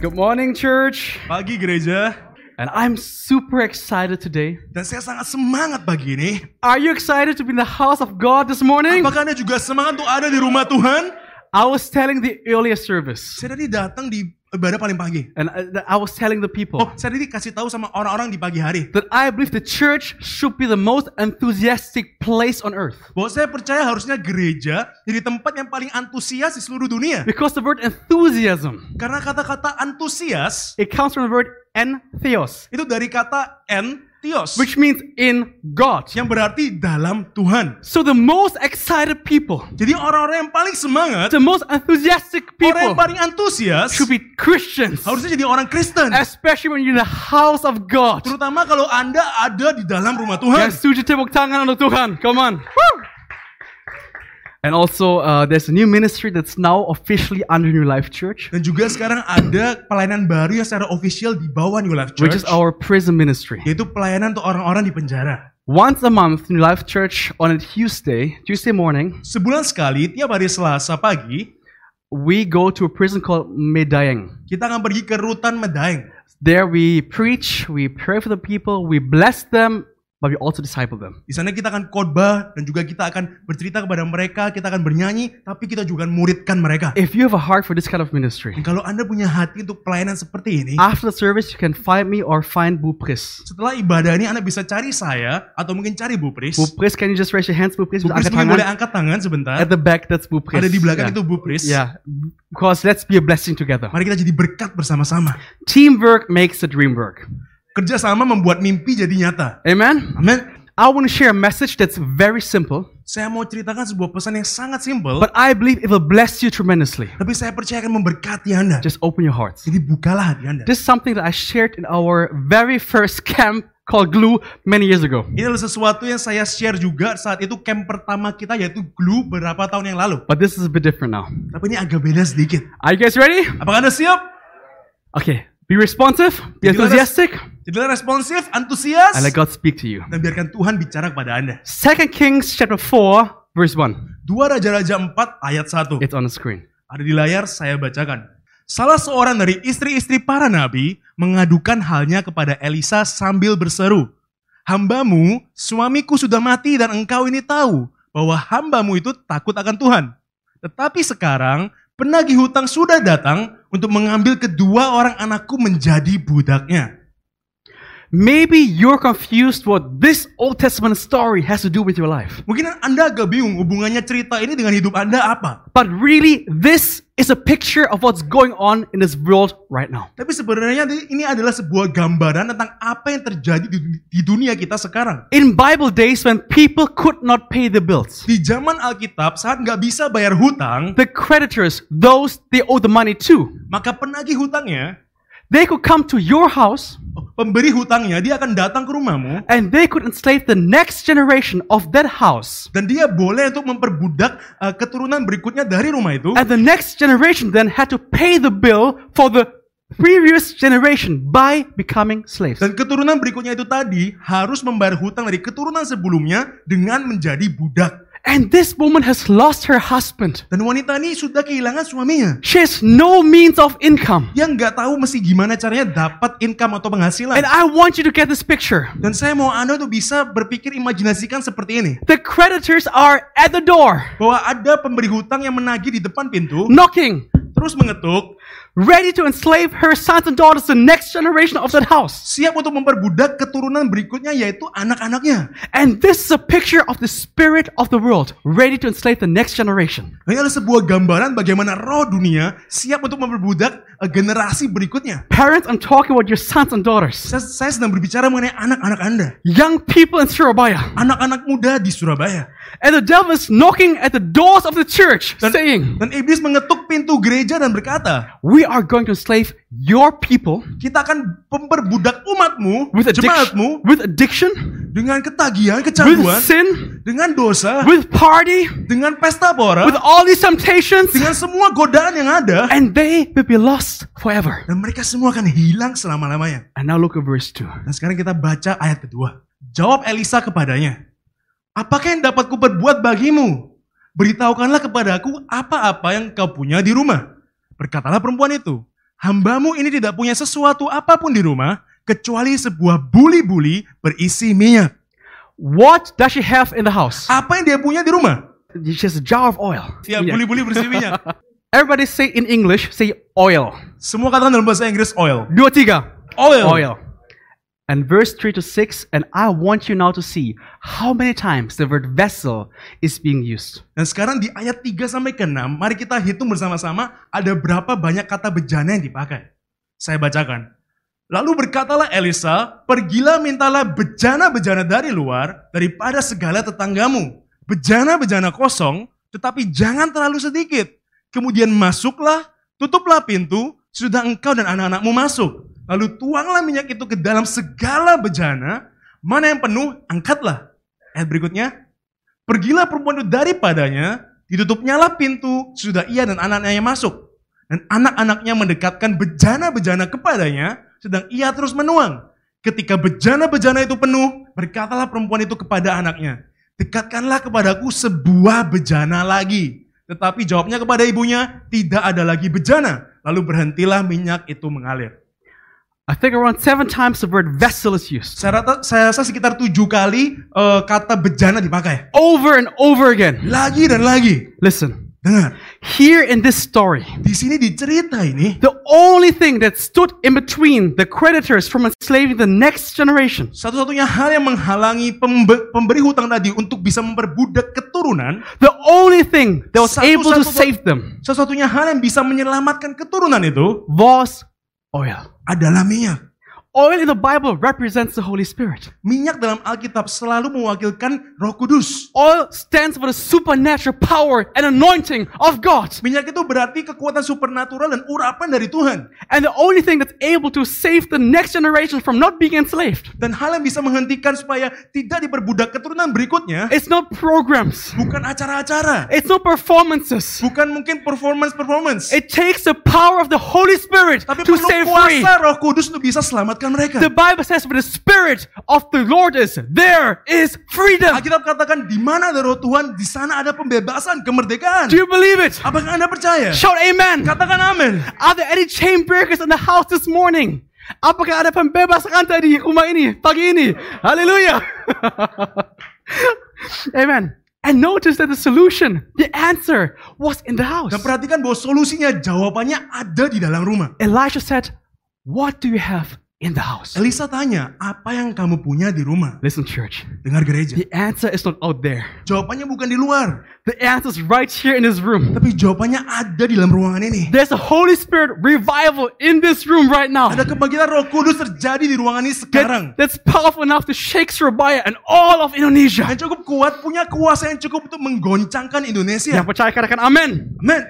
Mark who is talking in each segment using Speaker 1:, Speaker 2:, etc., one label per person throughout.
Speaker 1: Good morning, church.
Speaker 2: Pagi gereja,
Speaker 1: And I'm super excited today.
Speaker 2: dan saya sangat semangat pagi ini.
Speaker 1: Are you excited to be in the house of God this morning?
Speaker 2: Apakah Anda juga semangat untuk ada di rumah Tuhan?
Speaker 1: I was telling the earlier service,
Speaker 2: Saya tadi datang di ibadah paling pagi.
Speaker 1: and I, I was telling the
Speaker 2: Oh,
Speaker 1: people
Speaker 2: saya tadi kasih tahu sama orang-orang di pagi hari
Speaker 1: that I believe the church should be the most enthusiastic place on earth.
Speaker 2: bahwa saya percaya harusnya gereja jadi tempat yang paling antusias di seluruh dunia.
Speaker 1: Because the word enthusiasm,
Speaker 2: Karena kata-kata antusias
Speaker 1: it comes from the word entheos,
Speaker 2: itu dari kata entios
Speaker 1: which means in God.
Speaker 2: yang berarti dalam Tuhan.
Speaker 1: So the most excited people,
Speaker 2: Jadi orang-orang yang paling
Speaker 1: the
Speaker 2: semangat,
Speaker 1: most enthusiastic
Speaker 2: orang
Speaker 1: people
Speaker 2: yang paling antusias
Speaker 1: should be Christians.
Speaker 2: harusnya jadi orang Kristen.
Speaker 1: Especially when you're in the house of God.
Speaker 2: Terutama kalau Anda ada di dalam rumah Tuhan.
Speaker 1: Yang setuju tepuk tangan untuk Tuhan. Come on. Woo! And also, uh, there's a new ministry that's now officially under New Life Church,
Speaker 2: Dan juga sekarang ada pelayanan baru yang secara official di bawah New Life
Speaker 1: which is
Speaker 2: Church,
Speaker 1: our prison ministry.
Speaker 2: yaitu pelayanan untuk orang-orang di penjara.
Speaker 1: Once a month, New Life Church on a Tuesday, Tuesday morning,
Speaker 2: Sebulan sekali, tiap hari Selasa pagi,
Speaker 1: we go to a prison called Medayeng.
Speaker 2: kita akan pergi ke Rutan Medaeng.
Speaker 1: There we preach, we pray for the people, we bless them, but we also disciple them.
Speaker 2: Di sana kita akan khotbah dan juga kita akan bercerita kepada mereka, kita akan bernyanyi, tapi kita juga akan muridkan mereka.
Speaker 1: If you have a heart for this kind of
Speaker 2: Dan
Speaker 1: ministry,
Speaker 2: kalau Anda punya hati untuk pelayanan seperti ini,
Speaker 1: after the service, you can find me or find Bupris.
Speaker 2: setelah ibadah ini Anda bisa cari saya atau mungkin cari Bu Pris. Bu
Speaker 1: Bupris, can you just raise your hands, Bupris? Bisa
Speaker 2: Pris
Speaker 1: angkat
Speaker 2: mungkin
Speaker 1: tangan.
Speaker 2: boleh angkat tangan sebentar.
Speaker 1: At the ya. back, that's Bupris.
Speaker 2: Ada di belakang
Speaker 1: Yeah.
Speaker 2: itu Bu Pris.
Speaker 1: Yeah, because let's be a blessing together.
Speaker 2: Mari kita jadi berkat bersama-sama.
Speaker 1: Teamwork makes the dream work.
Speaker 2: Kerjasama membuat mimpi jadi nyata.
Speaker 1: Amen.
Speaker 2: Amin.
Speaker 1: I want to share a message that's very simple,
Speaker 2: Saya mau ceritakan sebuah pesan yang sangat simpel,
Speaker 1: but I believe it will bless you tremendously.
Speaker 2: tapi saya percaya akan memberkati Anda.
Speaker 1: Just open your hearts.
Speaker 2: Jadi bukalah hati Anda.
Speaker 1: This is something that I shared in our very first camp called Glue many years ago.
Speaker 2: Ini adalah sesuatu yang saya share juga saat itu camp pertama kita yaitu Glue beberapa tahun yang lalu.
Speaker 1: But this is a bit different now.
Speaker 2: Tapi ini agak beda sedikit.
Speaker 1: Are you guys ready?
Speaker 2: Apakah Anda siap?
Speaker 1: Okay. Be responsive, be
Speaker 2: Give us-
Speaker 1: enthusiastic,
Speaker 2: Jadilah responsif, antusias,
Speaker 1: and let God speak to you.
Speaker 2: dan biarkan Tuhan bicara kepada Anda.
Speaker 1: Second Kings chapter 4, verse 1.
Speaker 2: Dua Raja-Raja 4 ayat 1.
Speaker 1: It's on the screen.
Speaker 2: Ada di layar, saya bacakan. Salah seorang dari istri-istri para nabi mengadukan halnya kepada Elisa sambil berseru, Hambamu, suamiku sudah mati dan engkau ini tahu bahwa hambamu itu takut akan Tuhan. Tetapi sekarang penagih hutang sudah datang untuk mengambil kedua orang anakku menjadi budaknya.
Speaker 1: Maybe you're confused what this Old Testament story has to do with your life.
Speaker 2: Mungkin Anda agak bingung hubungannya cerita ini dengan hidup Anda apa.
Speaker 1: But really, this is a picture of what's going on in this world right now.
Speaker 2: Tapi sebenarnya ini adalah sebuah gambaran tentang apa yang terjadi di- di dunia kita sekarang.
Speaker 1: In Bible days when people could not pay the bills,
Speaker 2: Di zaman Alkitab saat nggak bisa bayar hutang,
Speaker 1: the creditors, those they owe the money to,
Speaker 2: maka penagih hutangnya,
Speaker 1: they could come to your house
Speaker 2: pemberi hutangnya dia akan datang ke rumahmu
Speaker 1: and they could enslave the next generation of that house.
Speaker 2: dan dia boleh untuk memperbudak eh, keturunan berikutnya dari rumah itu
Speaker 1: And the next generation then had to pay the bill for the previous generation by becoming slaves.
Speaker 2: dan keturunan berikutnya itu tadi harus membayar hutang dari keturunan sebelumnya dengan menjadi budak.
Speaker 1: And this woman has lost her husband.
Speaker 2: Dan wanita ini sudah kehilangan suaminya
Speaker 1: She has no means of income.
Speaker 2: yang nggak tahu mesti gimana caranya dapat income atau penghasilan.
Speaker 1: And I want you to get this picture.
Speaker 2: Dan saya mau Anda untuk bisa berpikir imajinasikan seperti ini.
Speaker 1: The creditors are at the door,
Speaker 2: Bahwa ada pemberi hutang yang menagih di depan pintu,
Speaker 1: knocking,
Speaker 2: terus mengetuk,
Speaker 1: ready to enslave her sons and daughters, the next generation of that house.
Speaker 2: siap untuk memperbudak keturunan berikutnya yaitu anak-anaknya.
Speaker 1: And this is a picture of the spirit of the world, ready to enslave the next generation.
Speaker 2: Ini adalah sebuah gambaran bagaimana roh dunia siap untuk memperbudak eh, generasi berikutnya.
Speaker 1: Parents, I'm talking about your sons and daughters,
Speaker 2: Saya, saya sedang berbicara mengenai anak-anak Anda,
Speaker 1: young people in Surabaya.
Speaker 2: anak-anak muda di Surabaya.
Speaker 1: And the devil is knocking at the doors of the church,
Speaker 2: Dan,
Speaker 1: saying,
Speaker 2: dan iblis mengetuk pintu gereja dan berkata,
Speaker 1: We are going to enslave your people
Speaker 2: kita akan memperbudak umatmu,
Speaker 1: with, addiction,
Speaker 2: jemaatmu,
Speaker 1: with addiction,
Speaker 2: dengan ketagihan, kecanduan,
Speaker 1: with sin,
Speaker 2: dengan dosa,
Speaker 1: with party,
Speaker 2: dengan pesta pora,
Speaker 1: with all these temptations.
Speaker 2: dengan semua godaan yang ada.
Speaker 1: and they will be lost forever.
Speaker 2: Dan mereka semua akan hilang selama-lamanya.
Speaker 1: And now look at verse 2.
Speaker 2: Dan Nah, sekarang kita baca ayat kedua. Jawab Elisa kepadanya, Apakah yang dapat kuperbuat bagimu? Beritahukanlah kepadaku apa-apa yang kau punya di rumah. Berkatalah perempuan itu, hambamu ini tidak punya sesuatu apapun di rumah, kecuali sebuah buli-buli berisi minyak.
Speaker 1: What does she have in the house?
Speaker 2: Apa yang dia punya di rumah?
Speaker 1: She has a jar of oil.
Speaker 2: Ya,
Speaker 1: Minyak.
Speaker 2: buli-buli berisi minyak.
Speaker 1: Everybody say in English, say oil.
Speaker 2: Semua katakan dalam bahasa Inggris oil.
Speaker 1: Dua tiga.
Speaker 2: Oil.
Speaker 1: Oil. And verse 3 to 6, and I want you now to see how many times the word vessel is being used.
Speaker 2: Dan sekarang di ayat 3 sampai ke 6, mari kita hitung bersama-sama ada berapa banyak kata bejana yang dipakai. Saya bacakan. Lalu berkatalah Elisa, pergilah mintalah bejana-bejana dari luar daripada segala tetanggamu. Bejana-bejana kosong, tetapi jangan terlalu sedikit. Kemudian masuklah, tutuplah pintu, sudah engkau dan anak-anakmu masuk. Lalu tuanglah minyak itu ke dalam segala bejana, mana yang penuh, angkatlah. Ayat berikutnya, Pergilah perempuan itu daripadanya, ditutupnyalah pintu, sudah ia dan anak-anaknya masuk. Dan anak-anaknya mendekatkan bejana-bejana kepadanya, sedang ia terus menuang. Ketika bejana-bejana itu penuh, berkatalah perempuan itu kepada anaknya, dekatkanlah kepadaku sebuah bejana lagi. Tetapi jawabnya kepada ibunya, tidak ada lagi bejana. Lalu berhentilah minyak itu mengalir.
Speaker 1: I think around seven times the word vessel is used.
Speaker 2: Saya rata- saya rasa sekitar tujuh kali eh, kata bejana dipakai.
Speaker 1: Over and over again.
Speaker 2: Lagi dan lagi.
Speaker 1: Listen,
Speaker 2: Dengar,
Speaker 1: here in this story,
Speaker 2: di sini di cerita ini,
Speaker 1: the only thing that stood in between the creditors from enslaving the next generation
Speaker 2: Satu-satunya hal yang menghalangi pembe- pemberi hutang tadi untuk bisa memperbudak keturunan,
Speaker 1: The only thing that was
Speaker 2: Satu-
Speaker 1: able to
Speaker 2: satu-
Speaker 1: save them
Speaker 2: satu-satunya hal yang bisa menyelamatkan keturunan itu
Speaker 1: was oil.
Speaker 2: adalah minyak.
Speaker 1: Oil in the Bible represents the Holy Spirit.
Speaker 2: Minyak dalam Alkitab selalu mewakilkan Roh Kudus.
Speaker 1: Oil stands for the supernatural power and anointing of God.
Speaker 2: Minyak itu berarti kekuatan supernatural dan urapan dari Tuhan.
Speaker 1: And the only thing that's able to save the next generation from not being enslaved.
Speaker 2: Dan hal yang bisa menghentikan supaya tidak diperbudak keturunan berikutnya
Speaker 1: It's not programs,
Speaker 2: bukan acara-acara,
Speaker 1: it's not performances.
Speaker 2: bukan mungkin performance-performance.
Speaker 1: It takes the power of the Holy Spirit
Speaker 2: Tapi
Speaker 1: to
Speaker 2: perlu
Speaker 1: save free.
Speaker 2: kuasa Roh Kudus untuk bisa selamatkan mereka.
Speaker 1: The Bible says, "For the Spirit of the Lord is there is freedom."
Speaker 2: Alkitab katakan di mana ada roh Tuhan, di sana ada pembebasan, kemerdekaan.
Speaker 1: Do you believe it?
Speaker 2: Apakah Anda percaya?
Speaker 1: Shout amen.
Speaker 2: Katakan amin.
Speaker 1: Are there any chain breakers in the house this morning? Apakah ada pembebas rantai di rumah ini, pagi ini? Hallelujah. Amen. And notice that the solution, the answer, was in the house.
Speaker 2: Dan perhatikan bahwa solusinya, jawabannya ada di dalam rumah.
Speaker 1: Elisha said, What do you have in the house?
Speaker 2: Elisa tanya, apa yang kamu punya di rumah?
Speaker 1: Listen, church.
Speaker 2: Dengar gereja.
Speaker 1: The answer is not out there.
Speaker 2: Jawabannya bukan di luar,
Speaker 1: The answer is right here in this room.
Speaker 2: tapi jawabannya ada di dalam ruangan ini.
Speaker 1: There's a Holy Spirit revival in this room right now.
Speaker 2: Ada kebangkitan roh kudus terjadi di ruangan ini sekarang.
Speaker 1: That- that's powerful enough to shake Surabaya and all of Indonesia.
Speaker 2: Yang cukup kuat, punya kuasa yang cukup untuk menggoncangkan Indonesia.
Speaker 1: Yang percaya katakan amin.
Speaker 2: Amin.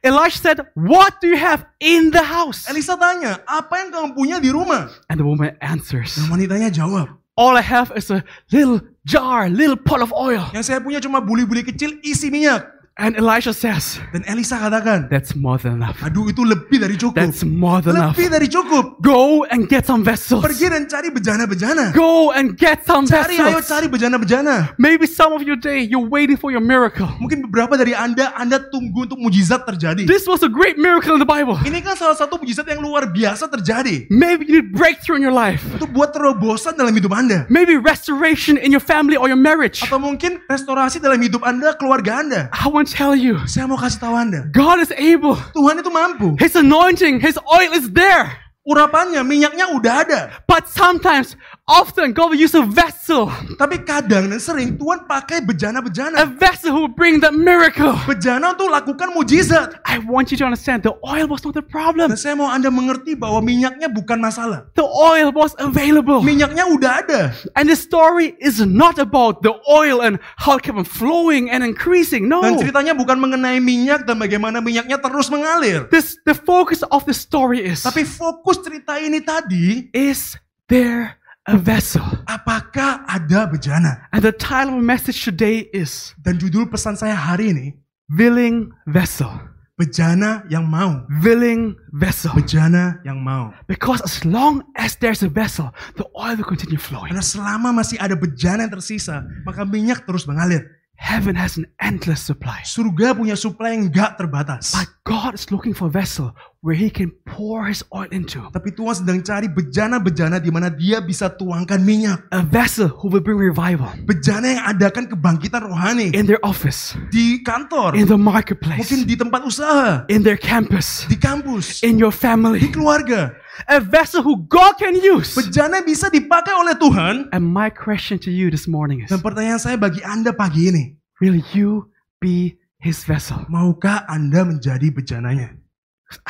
Speaker 1: Elisha said, What do you have in the house?
Speaker 2: Elisa tanya, apa yang kamu punya di rumah?
Speaker 1: And the woman answers,
Speaker 2: Dan wanitanya jawab,
Speaker 1: All I have is a little jar, little pot of oil.
Speaker 2: yang saya punya cuma buli-buli kecil isi minyak.
Speaker 1: And Elisha says,
Speaker 2: Dan Elisa katakan,
Speaker 1: That's more than enough.
Speaker 2: aduh itu lebih dari cukup.
Speaker 1: That's more than enough.
Speaker 2: Lebih dari cukup.
Speaker 1: Go and get some vessels.
Speaker 2: Pergi dan cari bejana-bejana.
Speaker 1: Go and get some
Speaker 2: Cari, ayo
Speaker 1: vessels.
Speaker 2: cari bejana-bejana.
Speaker 1: Maybe some of you today you're waiting for your miracle.
Speaker 2: Mungkin beberapa dari Anda, Anda tunggu untuk mujizat terjadi.
Speaker 1: This was a great miracle in the Bible.
Speaker 2: Ini kan salah satu mujizat yang luar biasa terjadi.
Speaker 1: Maybe you need breakthrough in your life.
Speaker 2: Itu buat terobosan dalam hidup Anda.
Speaker 1: Maybe restoration in your family or your marriage.
Speaker 2: Atau mungkin restorasi dalam hidup Anda, keluarga Anda.
Speaker 1: I want to tell you,
Speaker 2: Saya mau kasih tahu Anda.
Speaker 1: God is able.
Speaker 2: Tuhan itu mampu.
Speaker 1: His anointing, His oil is there.
Speaker 2: Urapannya, minyaknya udah ada.
Speaker 1: But sometimes, often, God will use a vessel.
Speaker 2: Tapi kadang dan sering Tuhan pakai
Speaker 1: A
Speaker 2: bejana-bejana.
Speaker 1: vessel who will bring that miracle.
Speaker 2: Bejana untuk lakukan mujizat.
Speaker 1: I want you to understand the oil was not the problem.
Speaker 2: Dan saya mau Anda mengerti bahwa minyaknya bukan masalah.
Speaker 1: The oil was available.
Speaker 2: Minyaknya udah ada.
Speaker 1: And the story is not about the oil and how it kept on flowing and increasing. No.
Speaker 2: Dan ceritanya bukan mengenai minyak dan bagaimana minyaknya terus mengalir.
Speaker 1: This, the focus of the story is
Speaker 2: Tapi fokus cerita ini tadi,
Speaker 1: Is there a vessel?
Speaker 2: apakah ada bejana?
Speaker 1: And the title of the message today is
Speaker 2: Dan judul pesan saya hari ini,
Speaker 1: Willing Vessel.
Speaker 2: bejana yang mau.
Speaker 1: Willing Vessel.
Speaker 2: Bejana yang mau.
Speaker 1: Because as long as there's a vessel, the oil will continue flowing.
Speaker 2: Karena selama masih ada bejana yang tersisa, maka minyak terus mengalir.
Speaker 1: Heaven has an endless supply.
Speaker 2: Surga punya supply yang gak terbatas.
Speaker 1: But God is looking for a vessel where He can pour His oil into.
Speaker 2: Tapi Tuhan sedang cari bejana-bejana di mana dia bisa tuangkan minyak.
Speaker 1: A vessel who will bring revival
Speaker 2: Bejana yang adakan kebangkitan rohani
Speaker 1: in their office,
Speaker 2: di kantor,
Speaker 1: in the marketplace,
Speaker 2: mungkin di tempat usaha,
Speaker 1: in their campus,
Speaker 2: di kampus,
Speaker 1: in your
Speaker 2: di
Speaker 1: family.
Speaker 2: keluarga.
Speaker 1: A vessel who God can use.
Speaker 2: Bejana bisa dipakai oleh Tuhan.
Speaker 1: And my question to you this morning is
Speaker 2: Dan pertanyaan saya bagi Anda pagi ini,
Speaker 1: Will you be His vessel?
Speaker 2: maukah Anda menjadi bejananya?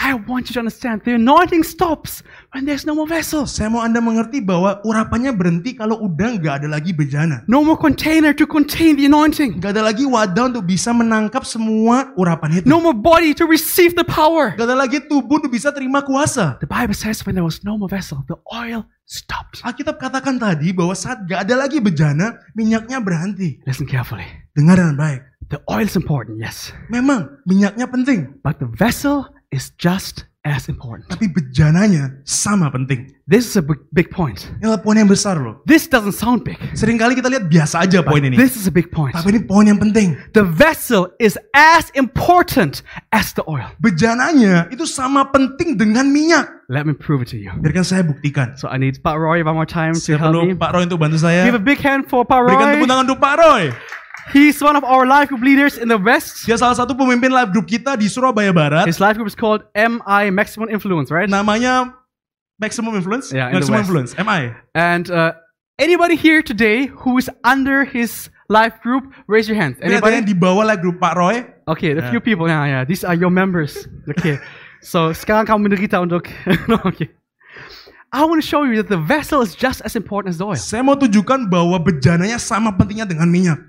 Speaker 1: I want you to understand the anointing stops when there's no more vessels,
Speaker 2: Saya mau Anda mengerti bahwa urapannya berhenti kalau udah nggak ada lagi bejana.
Speaker 1: no more container to contain the anointing,
Speaker 2: Nggak ada lagi wadah untuk bisa menangkap semua urapan itu.
Speaker 1: no more body to receive the power.
Speaker 2: Nggak ada lagi tubuh untuk bisa terima kuasa.
Speaker 1: The Bible says when there was no more vessel, the oil stopped.
Speaker 2: Alkitab katakan tadi bahwa saat nggak ada lagi bejana, minyaknya berhenti.
Speaker 1: Listen carefully.
Speaker 2: Dengar dengan baik.
Speaker 1: The oil is important, yes,
Speaker 2: Memang minyaknya penting,
Speaker 1: but the vessel is just as important.
Speaker 2: tapi bejananya sama penting.
Speaker 1: This is a big, big point.
Speaker 2: Inilah poin yang besar loh.
Speaker 1: This doesn't sound big.
Speaker 2: Seringkali kita lihat biasa aja
Speaker 1: but
Speaker 2: poin ini.
Speaker 1: This is a big point.
Speaker 2: Tapi ini poin yang penting.
Speaker 1: The vessel is as important as the oil.
Speaker 2: bejananya itu sama penting dengan minyak.
Speaker 1: Let me prove it to you.
Speaker 2: Biarkan saya buktikan.
Speaker 1: So I need Pak Roy one more time to
Speaker 2: Saya
Speaker 1: help me.
Speaker 2: perlu Pak Roy untuk bantu saya.
Speaker 1: Give a big hand for Pak
Speaker 2: Berikan
Speaker 1: Roy.
Speaker 2: tepuk tangan untuk Pak Roy.
Speaker 1: He's one of our life group leaders in the West.
Speaker 2: Dia salah satu pemimpin live group kita di Surabaya Barat.
Speaker 1: His life group is called MI Maximum Influence, right?
Speaker 2: Namanya Maximum Influence.
Speaker 1: Ya, in the
Speaker 2: Maximum
Speaker 1: West.
Speaker 2: Influence. MI.
Speaker 1: And uh, anybody here today who is under his life group, raise your hands.
Speaker 2: Ini ada yang
Speaker 1: Anybody?
Speaker 2: di bawah live group Pak Roy.
Speaker 1: Okay, a few people. Yeah, yeah. These are your members. Okay. so sekarang kamu menderita untuk. No, okay. I want to show you that the vessel is just as important as the oil.
Speaker 2: Saya mau tunjukkan bahwa bejananya sama pentingnya dengan minyak.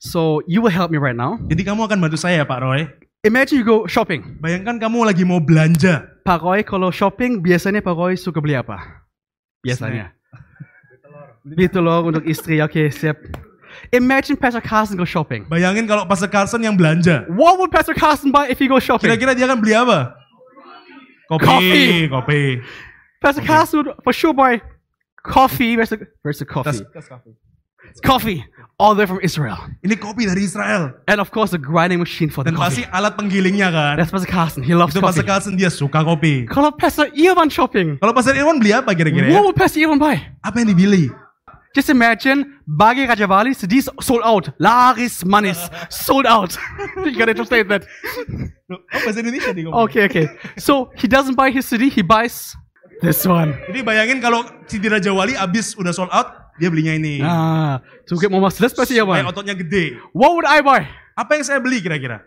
Speaker 1: So you will help me right now.
Speaker 2: Jadi kamu akan bantu saya Pak Roy.
Speaker 1: Imagine you go shopping.
Speaker 2: Bayangkan kamu lagi mau belanja.
Speaker 1: Pak Roy kalau shopping biasanya Pak Roy suka beli apa? Biasanya. Beli telur untuk istri. Oke, siap. Imagine Pastor Carson go shopping.
Speaker 2: Bayangin kalau Pastor Carson yang belanja.
Speaker 1: What would Pastor Carson buy if he go shopping?
Speaker 2: Kira-kira dia akan beli apa?
Speaker 1: Kopi.
Speaker 2: Kopi. Kopi.
Speaker 1: Pastor Carson would for sure buy coffee. Where's the, where's the coffee?
Speaker 2: Tas- tas kopi.
Speaker 1: coffee, all the way from Israel.
Speaker 2: Ini kopi dari Israel.
Speaker 1: And of course, the grinding machine for the
Speaker 2: Dan pasti
Speaker 1: coffee.
Speaker 2: alat penggilingnya kan.
Speaker 1: That's Pastor Carson. He loves
Speaker 2: Itu Pastor
Speaker 1: coffee.
Speaker 2: Carlson dia suka kopi.
Speaker 1: Kalau Pastor Irwan shopping,
Speaker 2: Kalau Pastor Irwan beli apa kira-kira ya?
Speaker 1: what would Pastor Irwan buy?
Speaker 2: Apa yang dibeli?
Speaker 1: Just imagine Bagi Rajavali cities sold out. Laris Manis sold out. you gotta translate that.
Speaker 2: Oh, bahasa Indonesia nih ngomong.
Speaker 1: Okay, okay. So he doesn't buy his city, he buys this one.
Speaker 2: Jadi bayangin kalau Siti Raja Wali abis udah sold out, dia belinya ini.
Speaker 1: Ah, to get more muscle. Let's Pastor
Speaker 2: Supaya
Speaker 1: Irwan.
Speaker 2: ototnya gede.
Speaker 1: What would I buy?
Speaker 2: Apa yang saya beli kira-kira?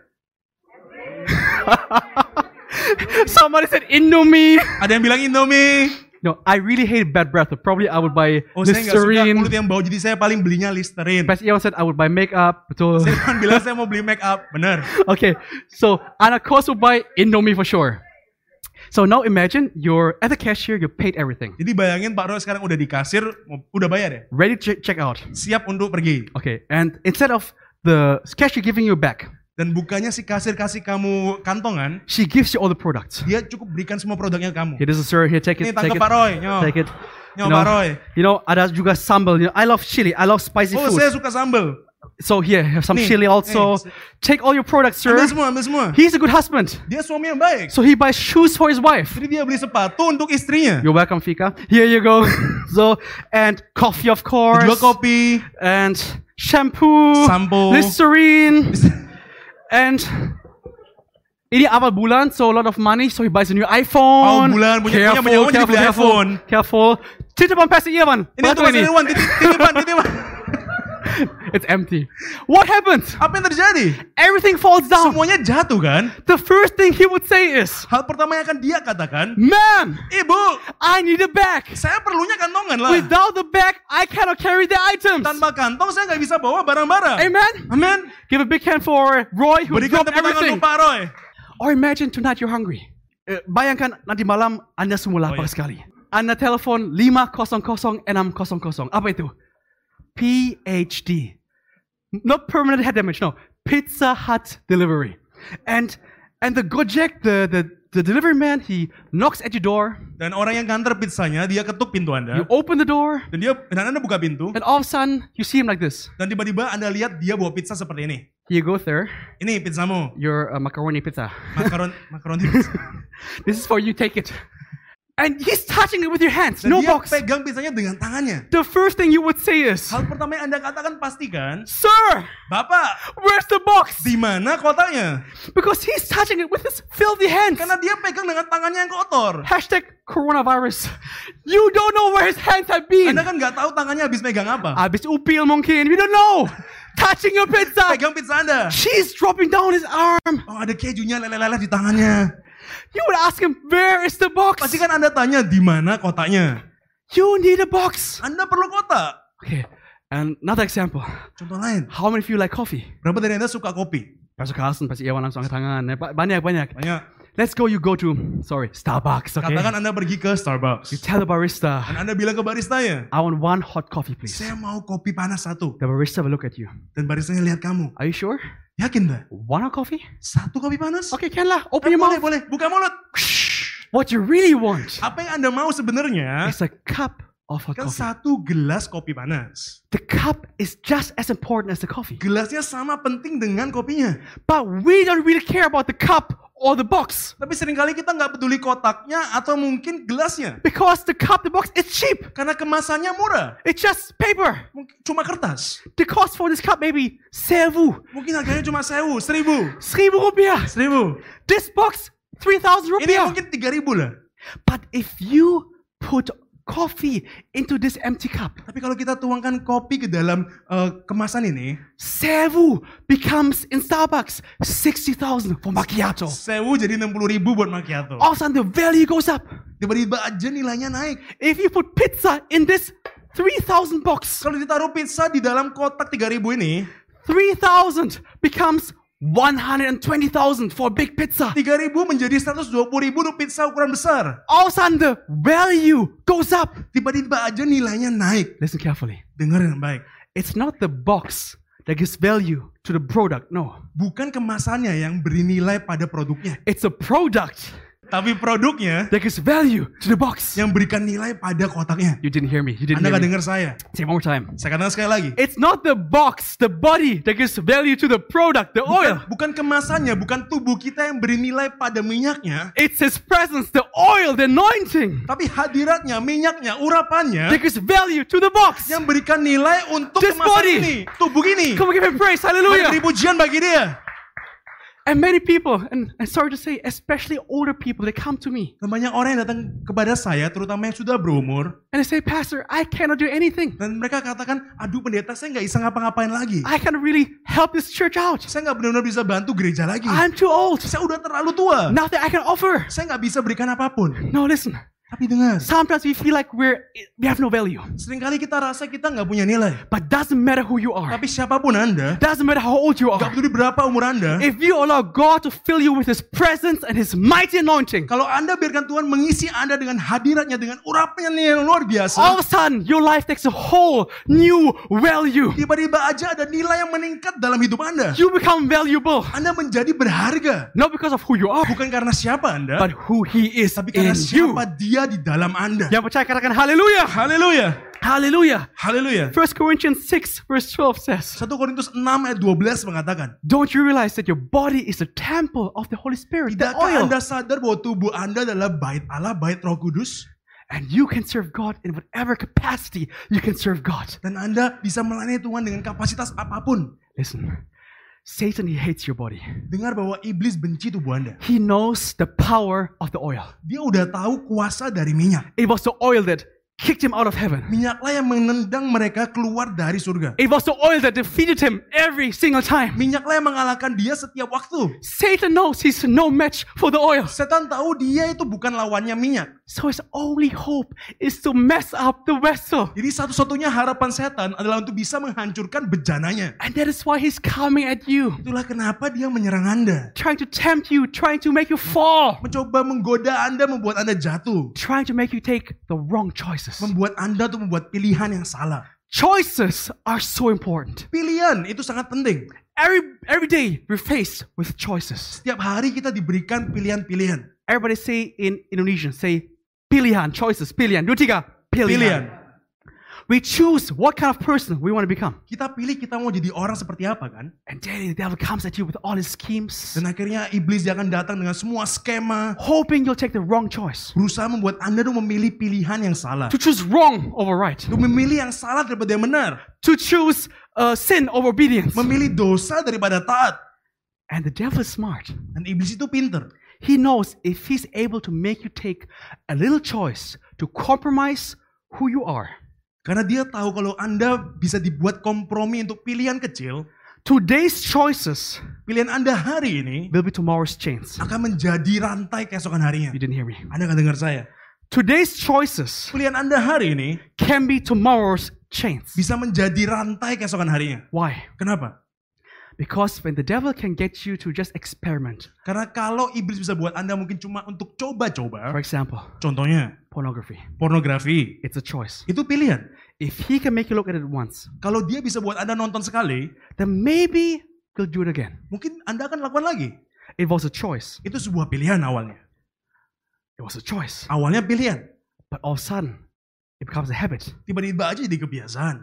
Speaker 1: Somebody said Indomie.
Speaker 2: Ada yang bilang Indomie.
Speaker 1: No, I really hate bad breath. but Probably I would buy
Speaker 2: Oh saya nggak suka
Speaker 1: Listerine.
Speaker 2: mulut yang bau, jadi saya paling belinya Listerine.
Speaker 1: Pastor Irwan said I would buy makeup. Betul.
Speaker 2: Saya kan bilang saya mau beli make up, bener.
Speaker 1: Okay, so and of course we'll buy Indomie for sure. So now imagine you're at the cashier, you paid everything,
Speaker 2: Jadi bayangin Pak Roy sekarang udah di kasir, mau- udah bayar ya?
Speaker 1: ready to check out.
Speaker 2: Siap untuk pergi.
Speaker 1: Okay, and instead of the cashier giving you back,
Speaker 2: Dan bukannya si kasir kasih kamu kantongan,
Speaker 1: she gives you all the products.
Speaker 2: dia cukup berikan semua produknya ke kamu.
Speaker 1: Here, this is sir. Here, take
Speaker 2: Ini
Speaker 1: it, take
Speaker 2: tangkap
Speaker 1: it,
Speaker 2: Pak Roy, nyok.
Speaker 1: take it.
Speaker 2: Nyok Pak Roy.
Speaker 1: you know, ada juga sambal. You know, I love chili. I love spicy
Speaker 2: Oh,
Speaker 1: food.
Speaker 2: saya suka sambal.
Speaker 1: So here, have some
Speaker 2: Nih,
Speaker 1: chili also.
Speaker 2: nih.
Speaker 1: Take all your products, sir.
Speaker 2: Ambil semua, ambil semua.
Speaker 1: He's a good husband,
Speaker 2: Dia suami yang baik.
Speaker 1: so he buys shoes for his wife.
Speaker 2: Jadi dia beli sepatu untuk istrinya.
Speaker 1: You're welcome, Fika. Here you go. so and coffee, of course.
Speaker 2: Jual kopi.
Speaker 1: and shampoo,
Speaker 2: Sampo.
Speaker 1: Listerine, and ini awal bulan, so a lot of money, so he buys a new
Speaker 2: Awal
Speaker 1: iPhone.
Speaker 2: bulan, punya- punya menyewang, jadi beli iPhone.
Speaker 1: careful. Titipan Pastor Irwan.
Speaker 2: Ini
Speaker 1: Bantu
Speaker 2: untuk Mas Irwan, titip- titipan, titipan.
Speaker 1: It's empty. What happens?
Speaker 2: Apa yang terjadi?
Speaker 1: Everything falls down.
Speaker 2: Semuanya jatuh kan?
Speaker 1: The first thing he would say is,
Speaker 2: Hal pertama yang akan dia katakan,
Speaker 1: "Man,
Speaker 2: Ibu,
Speaker 1: I need a bag.
Speaker 2: saya perlunya kantongan lah.
Speaker 1: Without the bag, I cannot carry the items."
Speaker 2: Tanpa kantong saya nggak bisa bawa barang-barang.
Speaker 1: Amen.
Speaker 2: Amin.
Speaker 1: Give a big hand for Roy who
Speaker 2: Berikan
Speaker 1: dropped
Speaker 2: tepuk tangan
Speaker 1: everything.
Speaker 2: untuk Pak Roy.
Speaker 1: Or Oh, imagine tonight you're hungry. Eh, bayangkan nanti malam Anda semua lapar
Speaker 2: Oh, iya.
Speaker 1: sekali. Anda telepon 500-600. Apa itu? PHD. Not permanent head damage, no. Pizza Hut delivery. And and the Gojek, the the, The delivery man, he knocks at your door.
Speaker 2: Dan orang yang nganter pizzanya, dia ketuk pintu
Speaker 1: You
Speaker 2: Anda.
Speaker 1: open the door,
Speaker 2: Dan dia dan Anda buka pintu.
Speaker 1: and all of a sudden, you see him like this.
Speaker 2: Dan tiba-tiba Anda lihat dia bawa pizza seperti ini.
Speaker 1: You go there,
Speaker 2: Ini pizzamu.
Speaker 1: your uh, macaroni pizza.
Speaker 2: Makaron makaroni pizza.
Speaker 1: This is for you, take it. And he's touching it with your hands,
Speaker 2: Dan
Speaker 1: no
Speaker 2: dia
Speaker 1: box.
Speaker 2: pegang pizzanya dengan tangannya.
Speaker 1: The first thing you would say is,
Speaker 2: Hal pertama yang Anda katakan pastikan,
Speaker 1: Sir,
Speaker 2: Bapak,
Speaker 1: where's the box?
Speaker 2: di mana kotaknya?
Speaker 1: Because he's touching it with his filthy hands.
Speaker 2: Karena dia pegang dengan tangannya yang kotor.
Speaker 1: Hashtag coronavirus. You don't know where his hands have been.
Speaker 2: Anda kan nggak tahu tangannya habis megang apa.
Speaker 1: Abis upil mungkin. We don't know. Touching your pizza.
Speaker 2: Pegang pizza Anda.
Speaker 1: Cheese dropping down his arm.
Speaker 2: Oh ada kejunya leleh-leleh di tangannya.
Speaker 1: You would ask him, where is the box?
Speaker 2: Pasti kan Anda tanya di mana kotaknya.
Speaker 1: You need a box.
Speaker 2: Anda perlu kotak.
Speaker 1: Okay, and another example.
Speaker 2: Contoh lain,
Speaker 1: How many of you like coffee?
Speaker 2: berapa dari Anda suka kopi?
Speaker 1: Pastor Carson, Pastor Iwan langsung angkat tangan. Eh, ba- Banyak, banyak.
Speaker 2: Banyak.
Speaker 1: Let's go, you go to, sorry, Starbucks, okay?
Speaker 2: Katakan Anda pergi ke
Speaker 1: You
Speaker 2: Starbucks.
Speaker 1: tell the barista,
Speaker 2: Dan Anda bilang ke baristanya,
Speaker 1: I want one hot coffee, please.
Speaker 2: saya mau kopi panas satu.
Speaker 1: The barista will look at you.
Speaker 2: Dan baristanya lihat kamu.
Speaker 1: Are you sure?
Speaker 2: Yakin dah?
Speaker 1: One hot coffee?
Speaker 2: Satu kopi panas?
Speaker 1: Okay, can lah. Open your
Speaker 2: Boleh,
Speaker 1: mouth.
Speaker 2: boleh. Buka mulut.
Speaker 1: What you really want
Speaker 2: Apa yang Anda mau sebenarnya,
Speaker 1: is a cup of hot
Speaker 2: kan
Speaker 1: coffee.
Speaker 2: satu gelas kopi panas.
Speaker 1: The cup is just as important as the coffee.
Speaker 2: Gelasnya sama penting dengan kopinya.
Speaker 1: But we don't really care about the cup or the box
Speaker 2: Tapi seringkali kita nggak peduli kotaknya atau mungkin gelasnya.
Speaker 1: because the cup, the box is cheap.
Speaker 2: Karena kemasannya murah.
Speaker 1: It's just paper.
Speaker 2: Mungkin cuma kertas.
Speaker 1: The cost for this cup maybe sevu,
Speaker 2: Mungkin harganya cuma sewu, seribu.
Speaker 1: seribu rupiah.
Speaker 2: Seribu.
Speaker 1: This box, three thousand
Speaker 2: Ini
Speaker 1: rupiah.
Speaker 2: mungkin tiga ribu lah.
Speaker 1: But if you put coffee into this empty cup,
Speaker 2: Tapi kalau kita tuangkan kopi ke dalam eh, kemasan ini,
Speaker 1: sevu becomes in Starbucks sixty thousand for macchiato.
Speaker 2: sewu jadi 60 ribu buat macchiato.
Speaker 1: All of a sudden, the value goes up.
Speaker 2: Tiba-tiba aja nilainya naik.
Speaker 1: If you put pizza in this three thousand box,
Speaker 2: Kalau ditaruh pizza di dalam kotak 3000 ini,
Speaker 1: 3,000 becomes 120,000 for a big pizza.
Speaker 2: 3000 menjadi 120 ribu untuk pizza ukuran besar.
Speaker 1: All of a sudden, the value goes up.
Speaker 2: Tiba-tiba aja nilainya naik.
Speaker 1: Listen carefully.
Speaker 2: Dengar dengan baik.
Speaker 1: It's not the box that gives value to the product. No,
Speaker 2: Bukan kemasannya yang beri nilai pada produknya.
Speaker 1: it's a product
Speaker 2: Tapi produknya
Speaker 1: that gives value to the box.
Speaker 2: yang berikan nilai pada kotaknya.
Speaker 1: You didn't hear me. You didn't
Speaker 2: Anda
Speaker 1: hear
Speaker 2: gak
Speaker 1: me.
Speaker 2: dengar saya.
Speaker 1: Say it one more time.
Speaker 2: Saya katakan sekali lagi.
Speaker 1: It's not the box, the body that gives value to the product, the oil.
Speaker 2: Bukan, bukan kemasannya, bukan tubuh kita yang beri nilai pada minyaknya.
Speaker 1: It's His presence, the oil, the anointing
Speaker 2: Tapi hadiratnya, minyaknya, urapannya
Speaker 1: that gives value to the box.
Speaker 2: yang berikan nilai untuk
Speaker 1: This
Speaker 2: kemasan
Speaker 1: body. Iya.
Speaker 2: ini. Tubuh ini.
Speaker 1: Come on, give Him praise. Hallelujah.
Speaker 2: Beri pujian bagi dia.
Speaker 1: And many people, and, and sorry to say, especially older people, they come to me
Speaker 2: Dan banyak orang yang datang kepada saya, terutama yang sudah berumur.
Speaker 1: and they say, Pastor, I cannot do anything.
Speaker 2: Dan mereka katakan, aduh pendeta saya nggak bisa ngapa-ngapain lagi.
Speaker 1: I cannot really help this church out.
Speaker 2: Saya nggak benar-benar bisa bantu gereja lagi.
Speaker 1: I'm too old.
Speaker 2: Saya udah terlalu tua.
Speaker 1: Nothing I can offer.
Speaker 2: Saya nggak bisa berikan apapun.
Speaker 1: No, listen.
Speaker 2: Tapi dengar,
Speaker 1: Sometimes we feel like we're we have no value.
Speaker 2: seringkali kita rasa kita nggak punya nilai.
Speaker 1: But doesn't matter who you are.
Speaker 2: Tapi siapapun Anda,
Speaker 1: Doesn't matter how old you
Speaker 2: nggak
Speaker 1: are.
Speaker 2: peduli berapa umur Anda,
Speaker 1: If you allow God to fill you with His presence and His mighty anointing,
Speaker 2: Kalau Anda biarkan Tuhan mengisi Anda dengan hadiratnya, dengan urapnya yang
Speaker 1: all
Speaker 2: luar biasa,
Speaker 1: of a sudden your life takes a whole new value.
Speaker 2: tiba-tiba aja ada nilai yang meningkat dalam hidup Anda.
Speaker 1: You become valuable
Speaker 2: Anda menjadi berharga.
Speaker 1: not because of who you are,
Speaker 2: Bukan karena siapa Anda,
Speaker 1: but who He is
Speaker 2: tapi
Speaker 1: in
Speaker 2: karena
Speaker 1: you.
Speaker 2: siapa dia di dalam Anda.
Speaker 1: Yang percaya katakan haleluya.
Speaker 2: Haleluya.
Speaker 1: Hallelujah.
Speaker 2: Haleluya.
Speaker 1: 1 Corinthians 6 verse 12 says,
Speaker 2: 1 Korintus 6 ayat 12 mengatakan,
Speaker 1: Don't you realize that your body is the temple of the Holy Spirit, the
Speaker 2: Tidakkah
Speaker 1: oil,
Speaker 2: Anda sadar bahwa tubuh Anda adalah bait Allah, bait roh kudus?
Speaker 1: and you can serve God in whatever capacity you can serve God.
Speaker 2: Dan Anda bisa melayani Tuhan dengan kapasitas apapun.
Speaker 1: Listen, Satan, he hates your body.
Speaker 2: Dengar bahwa iblis benci tubuh Anda.
Speaker 1: He knows the power of the oil.
Speaker 2: Dia udah tahu kuasa dari minyak.
Speaker 1: It was the oil that kicked him out of heaven.
Speaker 2: Minyaklah yang menendang mereka keluar dari surga.
Speaker 1: It was the oil that defeated him every single time.
Speaker 2: Minyaklah yang mengalahkan dia setiap waktu.
Speaker 1: Satan knows he's no match for the oil.
Speaker 2: Setan tahu dia itu bukan lawannya minyak.
Speaker 1: So his only hope is to mess up the vessel.
Speaker 2: Jadi satu-satunya harapan setan adalah untuk bisa menghancurkan bejananya.
Speaker 1: And that is why he's coming at you.
Speaker 2: Itulah kenapa dia menyerang Anda.
Speaker 1: trying to tempt you, trying to make you fall,
Speaker 2: Mencoba menggoda Anda membuat Anda jatuh.
Speaker 1: trying to make you take the wrong choices.
Speaker 2: Membuat Anda tuh membuat pilihan yang salah.
Speaker 1: Choices are so important.
Speaker 2: Pilihan itu sangat penting.
Speaker 1: Every every day we're faced with choices.
Speaker 2: Setiap hari kita diberikan pilihan-pilihan.
Speaker 1: Everybody say in Indonesian, say pilihan, choices, pilihan. Dua tiga,
Speaker 2: Pilihan.
Speaker 1: pilihan. We choose what kind of person we want to become.
Speaker 2: Kita pilih kita mau jadi orang seperti apa kan?
Speaker 1: And then the devil comes at you with all his schemes,
Speaker 2: Dan akhirnya iblis dia akan datang dengan semua skema.
Speaker 1: hoping you'll take the wrong choice.
Speaker 2: Berusaha membuat Anda tuh memilih pilihan yang salah.
Speaker 1: To choose wrong over right.
Speaker 2: Tuh memilih yang salah daripada yang benar.
Speaker 1: To choose uh, sin over obedience.
Speaker 2: Memilih dosa daripada taat.
Speaker 1: And the devil is smart.
Speaker 2: Dan iblis itu pinter.
Speaker 1: He knows if he's able to make you take a little choice to compromise who you are,
Speaker 2: Karena dia tahu kalau Anda bisa dibuat kompromi untuk pilihan kecil,
Speaker 1: today's choices
Speaker 2: pilihan Anda hari ini
Speaker 1: will be tomorrow's chains.
Speaker 2: akan menjadi rantai keesokan harinya.
Speaker 1: You didn't hear me.
Speaker 2: Anda nggak dengar saya?
Speaker 1: Today's choices
Speaker 2: Pilihan Anda hari ini
Speaker 1: can be tomorrow's chains.
Speaker 2: bisa menjadi rantai keesokan harinya.
Speaker 1: Why?
Speaker 2: Kenapa?
Speaker 1: Because when the devil can get you to just experiment,
Speaker 2: Karena kalau iblis bisa buat Anda mungkin cuma untuk coba-coba,
Speaker 1: for example,
Speaker 2: contohnya
Speaker 1: pornography,
Speaker 2: pornografi,
Speaker 1: it's a choice.
Speaker 2: itu pilihan.
Speaker 1: If he can make you look at it once,
Speaker 2: Kalau dia bisa buat Anda nonton sekali,
Speaker 1: then maybe you'll do it again.
Speaker 2: mungkin Anda akan lakukan lagi.
Speaker 1: It was a choice.
Speaker 2: Itu sebuah pilihan awalnya.
Speaker 1: It was a choice.
Speaker 2: Awalnya pilihan,
Speaker 1: But all of a sudden, it becomes a habit.
Speaker 2: tiba-tiba aja jadi kebiasaan.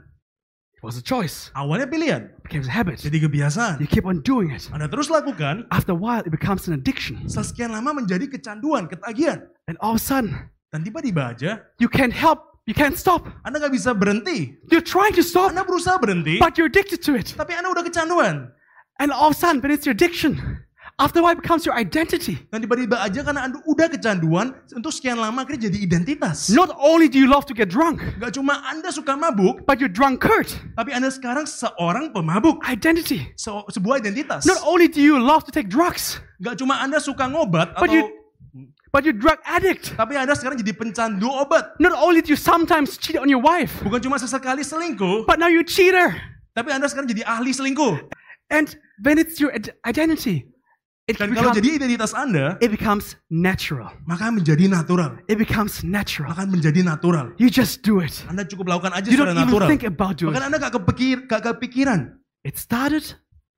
Speaker 1: It was a choice.
Speaker 2: Awalnya pilihan,
Speaker 1: It becomes a habit.
Speaker 2: jadi kebiasaan.
Speaker 1: You keep on doing it.
Speaker 2: Anda terus lakukan,
Speaker 1: After a while, it becomes an addiction.
Speaker 2: setelah sekian lama menjadi kecanduan, ketagihan.
Speaker 1: And all of a sudden,
Speaker 2: Dan tiba-tiba aja,
Speaker 1: you can't help. You can't stop.
Speaker 2: Anda nggak bisa berhenti.
Speaker 1: You're trying to stop,
Speaker 2: Anda berusaha berhenti,
Speaker 1: but you're addicted to it.
Speaker 2: tapi Anda udah kecanduan.
Speaker 1: And all of a sudden, when it's your addiction, after a while, it becomes your identity.
Speaker 2: Dan tiba-tiba aja karena Anda udah kecanduan, untuk sekian lama akhirnya jadi identitas.
Speaker 1: Not only do you love to get drunk,
Speaker 2: Gak cuma Anda suka mabuk,
Speaker 1: but you're drunkard.
Speaker 2: tapi Anda sekarang seorang pemabuk.
Speaker 1: Identity.
Speaker 2: Se- sebuah identitas.
Speaker 1: Not only do you love to take drugs,
Speaker 2: Gak cuma Anda suka ngobat,
Speaker 1: But
Speaker 2: atau,
Speaker 1: you- but you're drug addict.
Speaker 2: tapi Anda sekarang jadi pencandu obat.
Speaker 1: Not only do you sometimes cheat on your wife,
Speaker 2: Bukan cuma sesekali selingkuh,
Speaker 1: but now you're a cheater.
Speaker 2: tapi Anda sekarang jadi ahli selingkuh.
Speaker 1: And when it's your ad- identity, it
Speaker 2: Dan kalau
Speaker 1: becomes,
Speaker 2: jadi identitas Anda,
Speaker 1: it becomes natural.
Speaker 2: maka menjadi natural.
Speaker 1: It becomes natural.
Speaker 2: Akan menjadi natural.
Speaker 1: You just do it.
Speaker 2: Anda cukup lakukan aja
Speaker 1: You don't
Speaker 2: secara
Speaker 1: even
Speaker 2: natural.
Speaker 1: think about doing
Speaker 2: Bahkan
Speaker 1: it.
Speaker 2: Anda gak, kepikir, gak kepikiran.
Speaker 1: It started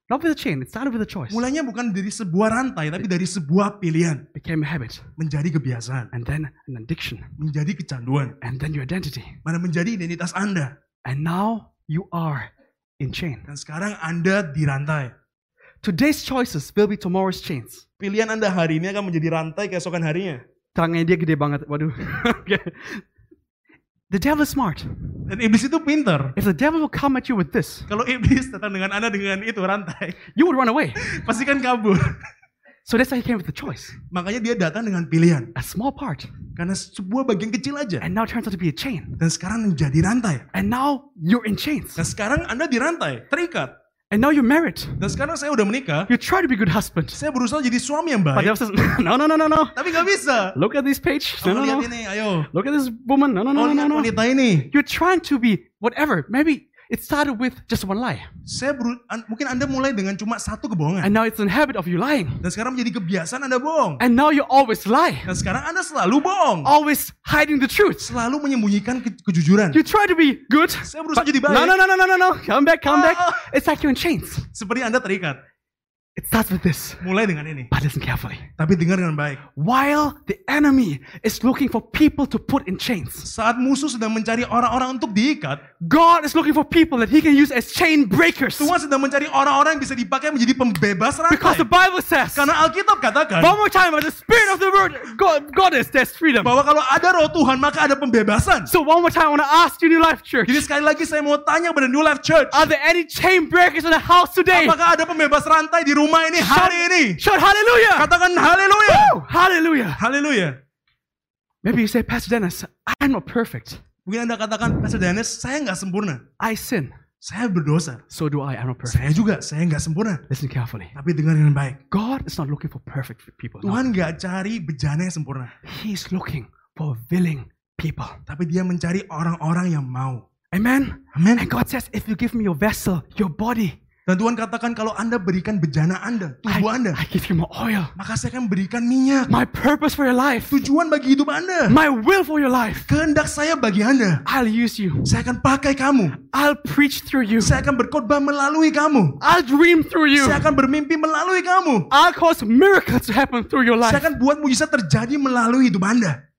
Speaker 1: not with a chain, it started with a choice.
Speaker 2: Mulainya bukan dari sebuah rantai, tapi dari sebuah pilihan.
Speaker 1: Became a habit,
Speaker 2: Menjadi kebiasaan.
Speaker 1: and then an addiction,
Speaker 2: Menjadi kecanduan.
Speaker 1: and then your identity.
Speaker 2: Mana menjadi identitas Anda.
Speaker 1: And now you are in chain.
Speaker 2: Dan sekarang Anda dirantai.
Speaker 1: Today's choices will be tomorrow's chains.
Speaker 2: Pilihan Anda hari ini akan menjadi rantai keesokan harinya.
Speaker 1: Tangannya dia gede banget. Waduh. Oke. the devil is smart.
Speaker 2: Dan iblis itu pinter.
Speaker 1: If the devil will come at you with this,
Speaker 2: Kalau iblis datang dengan Anda dengan itu rantai,
Speaker 1: you would run away.
Speaker 2: pasti kan kabur.
Speaker 1: So that's why he came with the choice.
Speaker 2: Makanya dia datang dengan pilihan.
Speaker 1: A small part.
Speaker 2: Karena sebuah bagian kecil aja.
Speaker 1: And now it turns out to be a chain.
Speaker 2: Dan sekarang menjadi rantai.
Speaker 1: And now you're in chains.
Speaker 2: Dan sekarang Anda dirantai, terikat.
Speaker 1: And now you're married.
Speaker 2: Dan sekarang saya udah menikah,
Speaker 1: You try to be a good husband.
Speaker 2: saya berusaha jadi suami yang
Speaker 1: But the
Speaker 2: baik,
Speaker 1: devil says, no, no, no, no, no.
Speaker 2: tapi nggak bisa.
Speaker 1: Look at this page. No,
Speaker 2: Kamu
Speaker 1: no,
Speaker 2: lihat
Speaker 1: no.
Speaker 2: ini, ayo.
Speaker 1: Look at this woman. No, no, no,
Speaker 2: Kamu
Speaker 1: no,
Speaker 2: lihat
Speaker 1: no. no.
Speaker 2: wanita ini.
Speaker 1: You're trying to be whatever. Maybe it started with just one lie.
Speaker 2: Saya beru- an- mungkin Anda mulai dengan cuma satu kebohongan.
Speaker 1: And now it's a habit of you lying.
Speaker 2: Dan sekarang menjadi kebiasaan Anda bohong.
Speaker 1: And now you always lie.
Speaker 2: Dan sekarang Anda selalu bohong.
Speaker 1: Always hiding the truth.
Speaker 2: Selalu menyembunyikan ke- kejujuran.
Speaker 1: You try to be good.
Speaker 2: Saya berusaha
Speaker 1: but-
Speaker 2: jadi baik.
Speaker 1: No, no, no, no, no, no, no. Come back, come back.
Speaker 2: Ah.
Speaker 1: It's like you're in chains.
Speaker 2: Seperti Anda terikat.
Speaker 1: It starts with this.
Speaker 2: Mulai dengan ini.
Speaker 1: But listen carefully.
Speaker 2: Tapi dengar dengan baik.
Speaker 1: While the enemy is looking for people to put in chains,
Speaker 2: Saat musuh sedang mencari orang-orang untuk diikat,
Speaker 1: God is looking for people that he can use as chain breakers.
Speaker 2: Tuhan sedang mencari orang-orang yang bisa dipakai menjadi pembebas
Speaker 1: Because the
Speaker 2: rantai.
Speaker 1: Bible says,
Speaker 2: Karena Alkitab katakan
Speaker 1: one more time, by the spirit of the word, God, goddess, there's freedom.
Speaker 2: bahwa kalau ada roh Tuhan maka ada pembebasan.
Speaker 1: So one more time, I want to ask you, New Life Church,
Speaker 2: Jadi sekali lagi saya mau tanya pada New Life Church,
Speaker 1: are there any chain breakers in the house today?
Speaker 2: apakah ada pembebas rantai di rumah ini hari ini?
Speaker 1: Shout hallelujah!
Speaker 2: Katakan haleluya.
Speaker 1: Woo! Hallelujah!
Speaker 2: Haleluya.
Speaker 1: Maybe you say, Pastor Dennis, I'm not perfect.
Speaker 2: Mungkin Anda katakan, Pastor Dennis, saya nggak sempurna.
Speaker 1: I sin.
Speaker 2: Saya berdosa.
Speaker 1: So do I. I'm not perfect.
Speaker 2: Saya juga, saya nggak sempurna.
Speaker 1: Listen carefully.
Speaker 2: Tapi dengar dengan baik.
Speaker 1: God is not looking for perfect people. No.
Speaker 2: Tuhan nggak cari bejana yang sempurna.
Speaker 1: He's looking for willing people.
Speaker 2: Tapi dia mencari orang-orang yang mau.
Speaker 1: Amen.
Speaker 2: Amin.
Speaker 1: And God says, if you give me your vessel, your body,
Speaker 2: Dan Tuhan katakan kalau Anda berikan bejana Anda, tubuh
Speaker 1: I,
Speaker 2: Anda,
Speaker 1: I give you my oil,
Speaker 2: maka saya akan berikan minyak.
Speaker 1: my purpose for your life,
Speaker 2: Tujuan bagi hidup Anda.
Speaker 1: my will for your life.
Speaker 2: Kehendak saya bagi Anda.
Speaker 1: I'll use you.
Speaker 2: Saya akan pakai kamu.
Speaker 1: I'll preach through you.
Speaker 2: Saya akan berkhotbah melalui kamu.
Speaker 1: I'll dream through you.
Speaker 2: Saya akan bermimpi melalui kamu.
Speaker 1: I'll cause miracles to happen through your
Speaker 2: Saya
Speaker 1: life.
Speaker 2: akan buat mujizat terjadi melalui hidup Anda.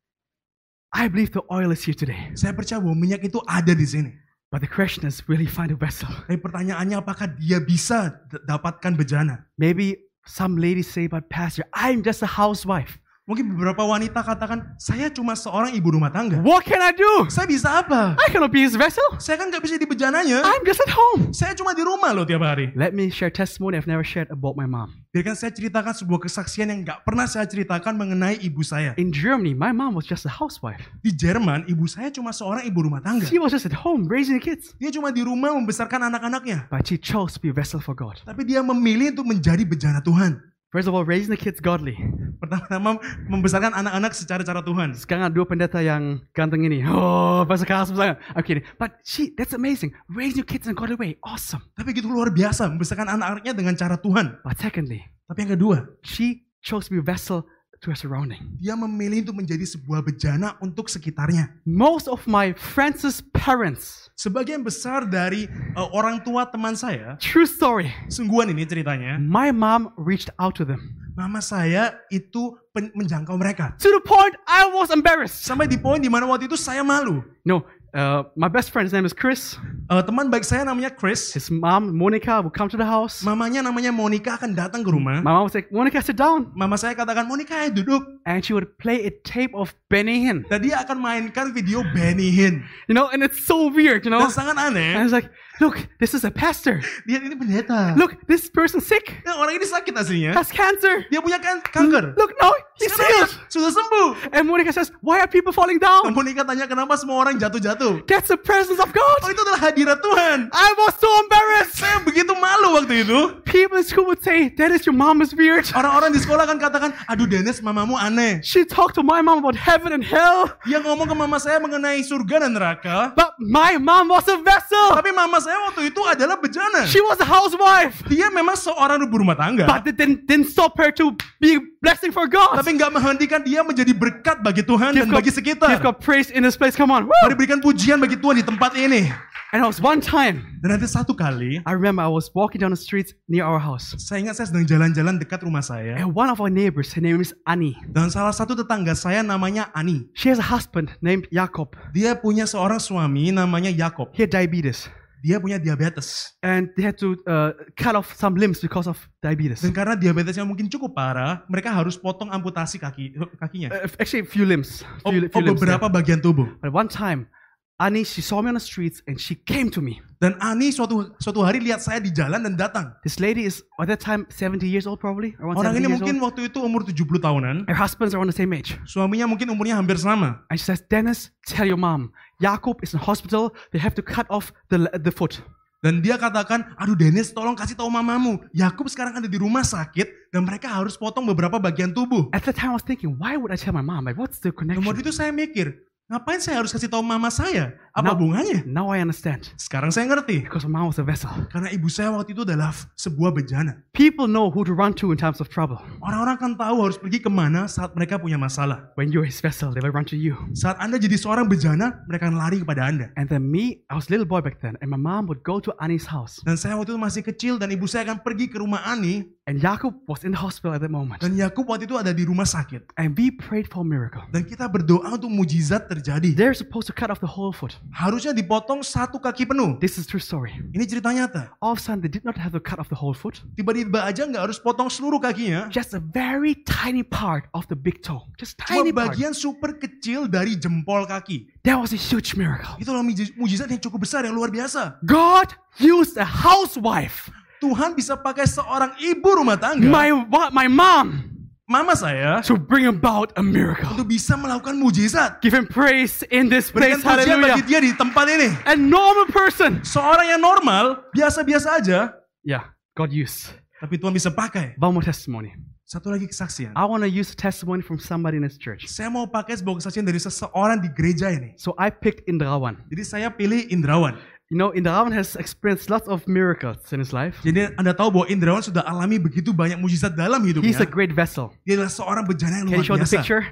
Speaker 1: I believe the oil is here today.
Speaker 2: Saya percaya bahwa minyak itu ada di sini.
Speaker 1: But the question is, will he find a vessel?
Speaker 2: Tapi pertanyaannya apakah dia bisa d- dapatkan bejana?
Speaker 1: Maybe some ladies say, but pastor, I'm just a housewife.
Speaker 2: Mungkin beberapa wanita katakan, saya cuma seorang ibu rumah tangga.
Speaker 1: What can I do?
Speaker 2: Saya bisa apa?
Speaker 1: I cannot be his vessel.
Speaker 2: Saya kan nggak bisa di bejananya.
Speaker 1: I'm just at home.
Speaker 2: Saya cuma di rumah loh tiap hari.
Speaker 1: Let me share testimony I've never shared about my mom.
Speaker 2: Biarkan saya ceritakan sebuah kesaksian yang nggak pernah saya ceritakan mengenai ibu saya.
Speaker 1: In Germany, my mom was just a housewife.
Speaker 2: Di Jerman, ibu saya cuma seorang ibu rumah tangga.
Speaker 1: She was just at home raising the kids.
Speaker 2: Dia cuma di rumah membesarkan anak-anaknya.
Speaker 1: But she chose to be a vessel for God.
Speaker 2: Tapi dia memilih untuk menjadi bejana Tuhan.
Speaker 1: First of all, raising the kids godly.
Speaker 2: Pertama-tama membesarkan anak-anak secara cara Tuhan.
Speaker 1: Sekarang ada dua pendeta yang ganteng ini. Oh, bahasa khas misalnya. I'm kidding. But she, that's amazing. Raising your kids in a godly way. Awesome.
Speaker 2: Tapi gitu luar biasa, membesarkan anak-anaknya dengan cara Tuhan.
Speaker 1: But secondly,
Speaker 2: Tapi yang kedua,
Speaker 1: she chose to be a vessel to her surrounding.
Speaker 2: dia memilih untuk menjadi sebuah bejana untuk sekitarnya.
Speaker 1: Most of my friends' parents,
Speaker 2: Sebagian besar dari eh, orang tua teman saya,
Speaker 1: true story,
Speaker 2: sungguhan ini ceritanya,
Speaker 1: my mom reached out to them.
Speaker 2: mama saya itu pen- menjangkau mereka.
Speaker 1: To the point I was embarrassed.
Speaker 2: Sampai di poin di mana waktu itu saya malu.
Speaker 1: No, uh, my best friend's name is Chris.
Speaker 2: Eh, teman baik saya namanya Chris,
Speaker 1: His mom, Monica, would come to the house. My
Speaker 2: mamanya namanya Monica akan datang ke rumah.
Speaker 1: mom was like, Monica, sit down.
Speaker 2: Mama saya katakan, Monica ayo duduk.
Speaker 1: And she would play a tape of Benny Hinn.
Speaker 2: Dan dia akan mainkan video Benny Hinn.
Speaker 1: You know, and it's so weird, you know?
Speaker 2: Dan sangat
Speaker 1: And I
Speaker 2: aneh,
Speaker 1: was like, look, this is a pastor.
Speaker 2: dia ini pendeta.
Speaker 1: Look, this person's sick,
Speaker 2: Nah, orang ini sakit aslinya.
Speaker 1: has cancer.
Speaker 2: Dia punya kan kanker.
Speaker 1: Look now, he's
Speaker 2: Sekarang dia
Speaker 1: healed.
Speaker 2: sudah sembuh. Nah,
Speaker 1: And Monica says, why are people falling down?
Speaker 2: Monica tanya kenapa semua orang jatuh-jatuh.
Speaker 1: That's the presence of
Speaker 2: Oh
Speaker 1: God.
Speaker 2: itu adalah hadirat Tuhan.
Speaker 1: I was so embarrassed.
Speaker 2: Saya begitu malu waktu itu.
Speaker 1: People in school would say, that is your mom is weird.
Speaker 2: Orang-orang di sekolah kan katakan, aduh Dennis mamamu aneh.
Speaker 1: She talked to my mom about heaven and hell,
Speaker 2: Dia ngomong ke mama saya mengenai surga dan neraka.
Speaker 1: but my mom was a vessel.
Speaker 2: Tapi mama saya waktu itu adalah bejana.
Speaker 1: She was a housewife.
Speaker 2: Dia memang seorang ibu rumah tangga.
Speaker 1: But it didn't, didn't stop her to be a blessing for God.
Speaker 2: Tapi nggak menghentikan dia menjadi berkat bagi Tuhan dan bagi
Speaker 1: give
Speaker 2: sekitar.
Speaker 1: God praise in this place. Come on. Woo!
Speaker 2: Mari berikan pujian bagi Tuhan di tempat ini.
Speaker 1: And I was one time,
Speaker 2: Dan nanti satu kali,
Speaker 1: I remember I was walking down the streets near our house.
Speaker 2: saya ingat saya sedang jalan-jalan dekat rumah saya.
Speaker 1: And one of our neighbors, her name is Annie.
Speaker 2: Dan salah satu tetangga saya namanya Ani.
Speaker 1: She has a husband named Jakob.
Speaker 2: Dia punya seorang suami namanya Yakob.
Speaker 1: He had diabetes.
Speaker 2: Dia punya diabetes.
Speaker 1: And they had to uh, cut off some limbs because of diabetes. Uh,
Speaker 2: Dan karena diabetesnya mungkin cukup parah, mereka harus potong amputasi kaki kakinya.
Speaker 1: Uh, actually, a few limbs.
Speaker 2: Oh,
Speaker 1: Few,
Speaker 2: oh,
Speaker 1: few limbs, yeah.
Speaker 2: beberapa bagian tubuh.
Speaker 1: But one time, Annie, she saw me on the streets and she came to me.
Speaker 2: Dan Ani suatu suatu hari lihat saya di jalan dan datang.
Speaker 1: This lady is, at that time, 70 years old probably. Around
Speaker 2: Orang
Speaker 1: 70
Speaker 2: ini
Speaker 1: years
Speaker 2: mungkin
Speaker 1: old.
Speaker 2: waktu itu umur 70 tahunan.
Speaker 1: Her husband's around the same age.
Speaker 2: Suaminya mungkin umurnya hampir sama.
Speaker 1: And she says, Dennis, tell your mom, Jakob is in hospital. They have to cut off the, the foot.
Speaker 2: Dan dia katakan, aduh Dennis tolong kasih tahu mamamu. Yakub sekarang ada di rumah sakit dan mereka harus potong beberapa bagian tubuh.
Speaker 1: At that time, I was thinking, why would I tell my mom? Like, what's the
Speaker 2: Dan
Speaker 1: connection?
Speaker 2: waktu itu saya mikir, ngapain saya harus kasih tahu mama saya?
Speaker 1: Nah.
Speaker 2: Apa hubungannya?
Speaker 1: Now I understand.
Speaker 2: Sekarang saya ngerti.
Speaker 1: Because my mom was a vessel.
Speaker 2: Karena ibu saya waktu itu adalah f- sebuah bejana.
Speaker 1: People know who to run to in times of trouble.
Speaker 2: Orang-orang kan tahu harus pergi kemana saat mereka punya masalah.
Speaker 1: When you're his vessel, they will run to you.
Speaker 2: Saat Anda jadi seorang bejana, mereka akan lari kepada Anda.
Speaker 1: And then me, I was a little boy back then, and my mom would go to Annie's house.
Speaker 2: Dan saya waktu itu masih kecil dan ibu saya akan pergi ke rumah Ani.
Speaker 1: And Jacob was in the hospital at that moment.
Speaker 2: Dan Yakub waktu itu ada di rumah sakit.
Speaker 1: And we prayed for a miracle.
Speaker 2: Dan kita berdoa untuk mujizat terjadi.
Speaker 1: They're supposed to cut off the whole foot.
Speaker 2: Harusnya dipotong satu kaki penuh.
Speaker 1: This is true story.
Speaker 2: Ini cerita nyata.
Speaker 1: All of a sudden, they did not have to cut off the whole foot.
Speaker 2: Tiba-tiba aja nggak harus potong seluruh kakinya.
Speaker 1: Just a very tiny part of the big toe. Just
Speaker 2: Cuma
Speaker 1: tiny part.
Speaker 2: bagian super kecil dari jempol kaki.
Speaker 1: That was a huge miracle.
Speaker 2: Itulah mujiz- mujizat yang cukup besar, yang luar biasa.
Speaker 1: God used a housewife,
Speaker 2: Tuhan bisa pakai seorang ibu rumah tangga,
Speaker 1: my, wa- my mom,
Speaker 2: mama saya,
Speaker 1: to bring about a miracle.
Speaker 2: untuk bisa melakukan mujizat.
Speaker 1: Give him praise in this
Speaker 2: Berikan
Speaker 1: place.
Speaker 2: pujian bagi
Speaker 1: Hallelujah.
Speaker 2: dia di tempat ini.
Speaker 1: A normal person.
Speaker 2: Seorang yang normal, biasa-biasa aja,
Speaker 1: Yeah, God used.
Speaker 2: tapi Tuhan bisa pakai.
Speaker 1: One more testimony.
Speaker 2: Satu lagi kesaksian.
Speaker 1: I want to use a testimony from somebody in this church.
Speaker 2: Saya mau pakai sebuah kesaksian dari seseorang di gereja ini.
Speaker 1: So I picked Indrawan.
Speaker 2: Jadi saya pilih Indrawan.
Speaker 1: You know, Indrawan has experienced lots of miracles in his life.
Speaker 2: Jadi Anda tahu bahwa Indrawan sudah alami begitu banyak mujizat dalam
Speaker 1: He's a
Speaker 2: hidupnya.
Speaker 1: great vessel.
Speaker 2: Dia adalah seorang bencana yang
Speaker 1: Can you
Speaker 2: luar
Speaker 1: show the
Speaker 2: biasa.
Speaker 1: picture?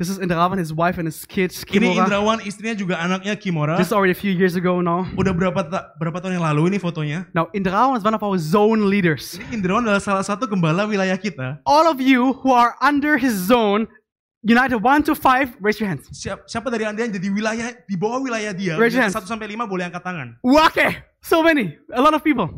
Speaker 1: This is Indrawan, his wife, and his kids.
Speaker 2: Ini
Speaker 1: Kimora.
Speaker 2: Indrawan, istrinya juga anaknya Kimora.
Speaker 1: This is already a few years ago now.
Speaker 2: Udah berapa ta- berapa tahun yang lalu ini fotonya.
Speaker 1: Now, Indrawan is one of our zone leaders.
Speaker 2: Ini Indrawan adalah salah satu gembala wilayah kita.
Speaker 1: All of you who are under his zone, United 1 to 5, raise your hands.
Speaker 2: Siap- siapa dari Anda yang jadi wilayah di bawah wilayah dia?
Speaker 1: Raise your
Speaker 2: Wilayah
Speaker 1: hands.
Speaker 2: 1 sampai 5 boleh angkat tangan.
Speaker 1: Wake! So many, a lot of people.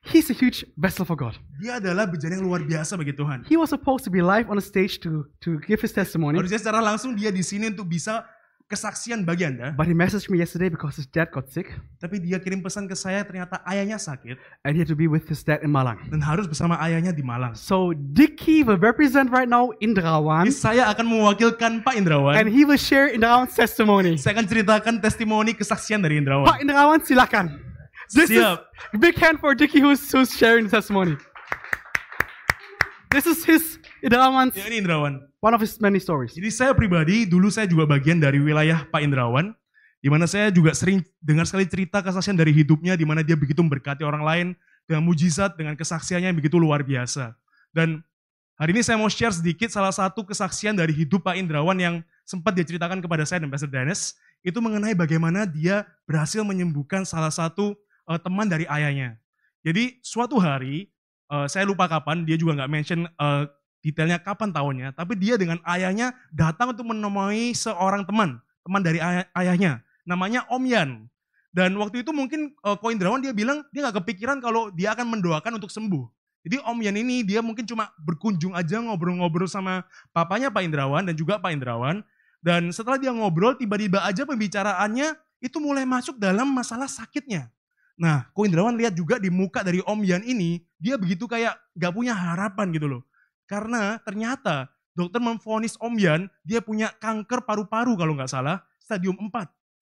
Speaker 1: He's a huge vessel for God.
Speaker 2: Dia adalah bejana yang luar biasa bagi Tuhan.
Speaker 1: He was supposed to be live on a stage to, to give his testimony,
Speaker 2: Harusnya secara langsung dia di sini untuk bisa kesaksian bagi Anda,
Speaker 1: but he messaged me yesterday because his dad got sick
Speaker 2: tapi dia kirim pesan ke saya ternyata ayahnya sakit
Speaker 1: and he had to be with his dad in Malang.
Speaker 2: dan harus bersama ayahnya di Malang.
Speaker 1: So Dicky will represent right now
Speaker 2: Jadi
Speaker 1: Indrawan
Speaker 2: saya akan mewakilkan Pak
Speaker 1: and
Speaker 2: Indrawan.
Speaker 1: he will share Indrawan's testimony.
Speaker 2: Saya akan ceritakan testimoni kesaksian dari Indrawan.
Speaker 1: Pak Indrawan silakan. This is
Speaker 2: Siap.
Speaker 1: big hand for Dicky who's, who's sharing the testimony. This is his Indrawan's
Speaker 2: Ya, ini Indrawan.
Speaker 1: one of his many stories.
Speaker 2: Jadi saya pribadi dulu saya juga bagian dari wilayah Pak Indrawan, di mana saya juga sering dengar sekali cerita kesaksian dari hidupnya, di mana dia begitu memberkati orang lain dengan mujizat, dengan kesaksiannya yang begitu luar biasa. Dan hari ini saya mau share sedikit salah satu kesaksian dari hidup Pak Indrawan yang sempat dia ceritakan kepada saya dan Pastor Dennis, itu mengenai bagaimana dia berhasil menyembuhkan salah satu eh, teman dari ayahnya. Jadi suatu hari, eh, saya lupa kapan, dia juga nggak mention eh, detailnya kapan tahunnya, tapi dia dengan ayahnya datang untuk menemui seorang teman, teman dari ayah- ayahnya, namanya Om Yan. Dan waktu itu mungkin eh, Ko Indrawan dia bilang dia nggak kepikiran kalau dia akan mendoakan untuk sembuh. Jadi Om Yan ini dia mungkin cuma berkunjung aja ngobrol-ngobrol sama papanya Pak Indrawan dan juga Pak Indrawan. Dan setelah dia ngobrol tiba-tiba aja pembicaraannya itu mulai masuk dalam masalah sakitnya. Nah, Ko Indrawan lihat juga di muka dari Om Yan ini, dia begitu kayak gak punya harapan gitu loh. Karena ternyata dokter memvonis Om Yan, dia punya kanker paru-paru kalau nggak salah, stadium 4.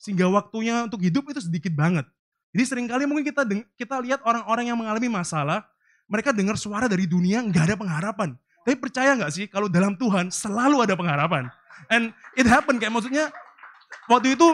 Speaker 2: Sehingga waktunya untuk hidup itu sedikit banget. Jadi seringkali mungkin kita deng- kita lihat orang-orang yang mengalami masalah, mereka dengar suara dari dunia nggak ada pengharapan. Tapi percaya nggak sih kalau dalam Tuhan selalu ada pengharapan. And it happened kayak maksudnya waktu itu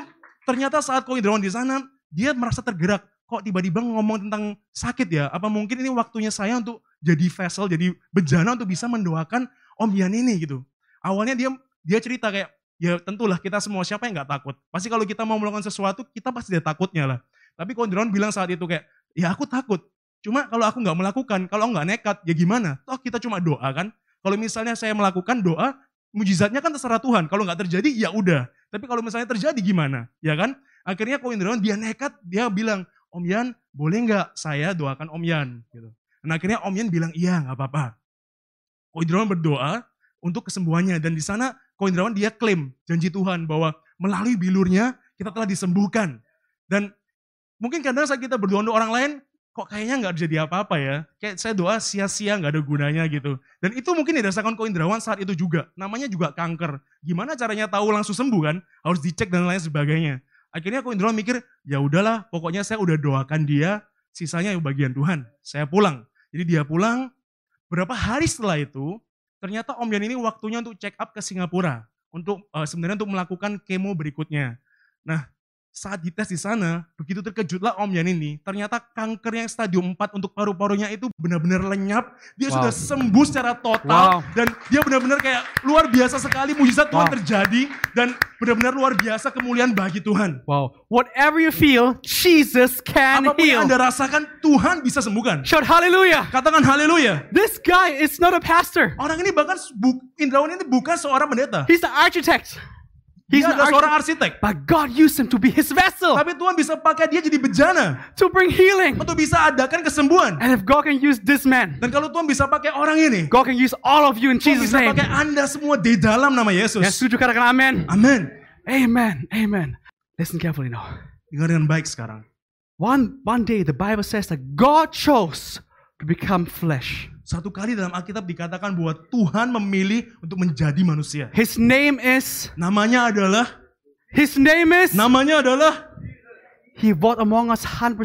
Speaker 2: ternyata saat Ko Indrawan di sana, dia merasa tergerak. Kok tiba-tiba ngomong tentang sakit ya? Apa mungkin ini waktunya saya untuk jadi vessel, jadi bejana untuk bisa mendoakan Om Yan ini gitu. Awalnya dia dia cerita kayak, ya tentulah kita semua siapa yang nggak takut. Pasti kalau kita mau melakukan sesuatu, kita pasti ada takutnya lah. Tapi Kondron bilang saat itu kayak, ya aku takut. Cuma kalau aku nggak melakukan, kalau nggak nekat, ya gimana? Toh kita cuma doa kan. Kalau misalnya saya melakukan doa, mujizatnya kan terserah Tuhan. Kalau nggak terjadi, ya udah. Tapi kalau misalnya terjadi gimana? Ya kan? Akhirnya Ko Indrawan dia nekat, dia bilang, Om Yan, boleh nggak saya doakan Om Yan? Gitu. Dan akhirnya Om Yan bilang, iya nggak apa-apa. Ko Indrawan berdoa untuk kesembuhannya. Dan di sana Ko Indrawan dia klaim janji Tuhan bahwa melalui bilurnya kita telah disembuhkan. Dan mungkin kadang saat kita berdoa untuk orang lain, kok kayaknya nggak jadi apa-apa ya. Kayak saya doa sia-sia nggak ada gunanya gitu. Dan itu mungkin dirasakan Ko Indrawan saat itu juga. Namanya juga kanker. Gimana caranya tahu langsung sembuh kan? Harus dicek dan lain sebagainya. Akhirnya Ko Indrawan mikir, ya udahlah pokoknya saya udah doakan dia, sisanya ya bagian Tuhan. Saya pulang. Jadi dia pulang, berapa hari setelah itu ternyata Om Yan ini waktunya untuk check up ke Singapura untuk eh, sebenarnya untuk melakukan kemo berikutnya. Nah, saat dites di sana, begitu terkejutlah Om Yan ini, ternyata kanker yang stadium 4 untuk paru-parunya itu benar-benar lenyap. Dia
Speaker 1: Wow.
Speaker 2: sudah sembuh secara
Speaker 1: Wow.
Speaker 2: total dan dia benar-benar kayak luar biasa sekali mujizat Tuhan
Speaker 1: Wow.
Speaker 2: terjadi dan benar-benar luar biasa kemuliaan bagi Tuhan.
Speaker 1: Wow. Whatever you feel, Jesus can
Speaker 2: Apapun
Speaker 1: heal.
Speaker 2: yang Anda rasakan, Tuhan bisa sembuhkan.
Speaker 1: Shout hallelujah.
Speaker 2: Katakan haleluya.
Speaker 1: This guy is not a pastor.
Speaker 2: Orang ini bahkan bu- Indrawan ini bukan seorang pendeta.
Speaker 1: He's the architect. He's an
Speaker 2: Dia adalah seorang
Speaker 1: architect.
Speaker 2: arsitek.
Speaker 1: But God used him to be his vessel
Speaker 2: Tapi Tuhan bisa pakai dia jadi bejana
Speaker 1: to bring healing.
Speaker 2: untuk bisa adakan kesembuhan.
Speaker 1: And if God can use this man,
Speaker 2: Dan kalau Tuhan bisa pakai orang ini,
Speaker 1: God can use all of you in
Speaker 2: Tuhan
Speaker 1: Jesus'
Speaker 2: bisa
Speaker 1: name.
Speaker 2: pakai Anda semua di dalam nama
Speaker 1: Yang
Speaker 2: Yesus.
Speaker 1: setuju katakan amen.
Speaker 2: Amin.
Speaker 1: Amen. Amen. Listen carefully now.
Speaker 2: Dengar dengan baik sekarang.
Speaker 1: One one day the Bible says that God chose to become flesh.
Speaker 2: Satu kali dalam Alkitab dikatakan bahwa Tuhan memilih untuk menjadi manusia.
Speaker 1: His name is
Speaker 2: Namanya adalah
Speaker 1: His name is
Speaker 2: namanya adalah
Speaker 1: He walked among us 100%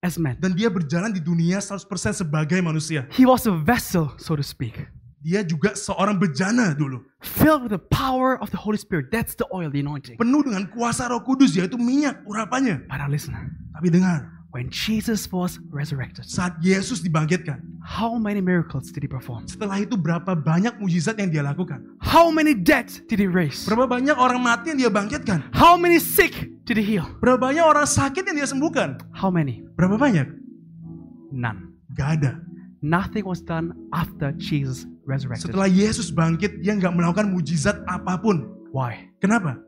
Speaker 1: as men.
Speaker 2: dan dia berjalan di dunia 100% sebagai manusia.
Speaker 1: He was a vessel, so to speak.
Speaker 2: Dia juga seorang bejana dulu.
Speaker 1: filled with the power of the Holy Spirit. That's the oil, the anointing.
Speaker 2: Penuh dengan kuasa roh kudus, yaitu minyak urapannya.
Speaker 1: But now listen,
Speaker 2: Tapi dengar,
Speaker 1: when Jesus was resurrected,
Speaker 2: saat Yesus dibangkitkan,
Speaker 1: how many miracles did he perform?
Speaker 2: setelah itu berapa banyak mujizat yang dia lakukan?
Speaker 1: How many dead did he raise?
Speaker 2: Berapa banyak orang mati yang dia bangkitkan?
Speaker 1: How many sick did he heal?
Speaker 2: Berapa banyak orang sakit yang dia sembuhkan?
Speaker 1: How many?
Speaker 2: Berapa banyak?
Speaker 1: None.
Speaker 2: Gak ada.
Speaker 1: Nothing was done after Jesus resurrected.
Speaker 2: Setelah Yesus bangkit, dia nggak melakukan mujizat apapun.
Speaker 1: Why?
Speaker 2: Kenapa?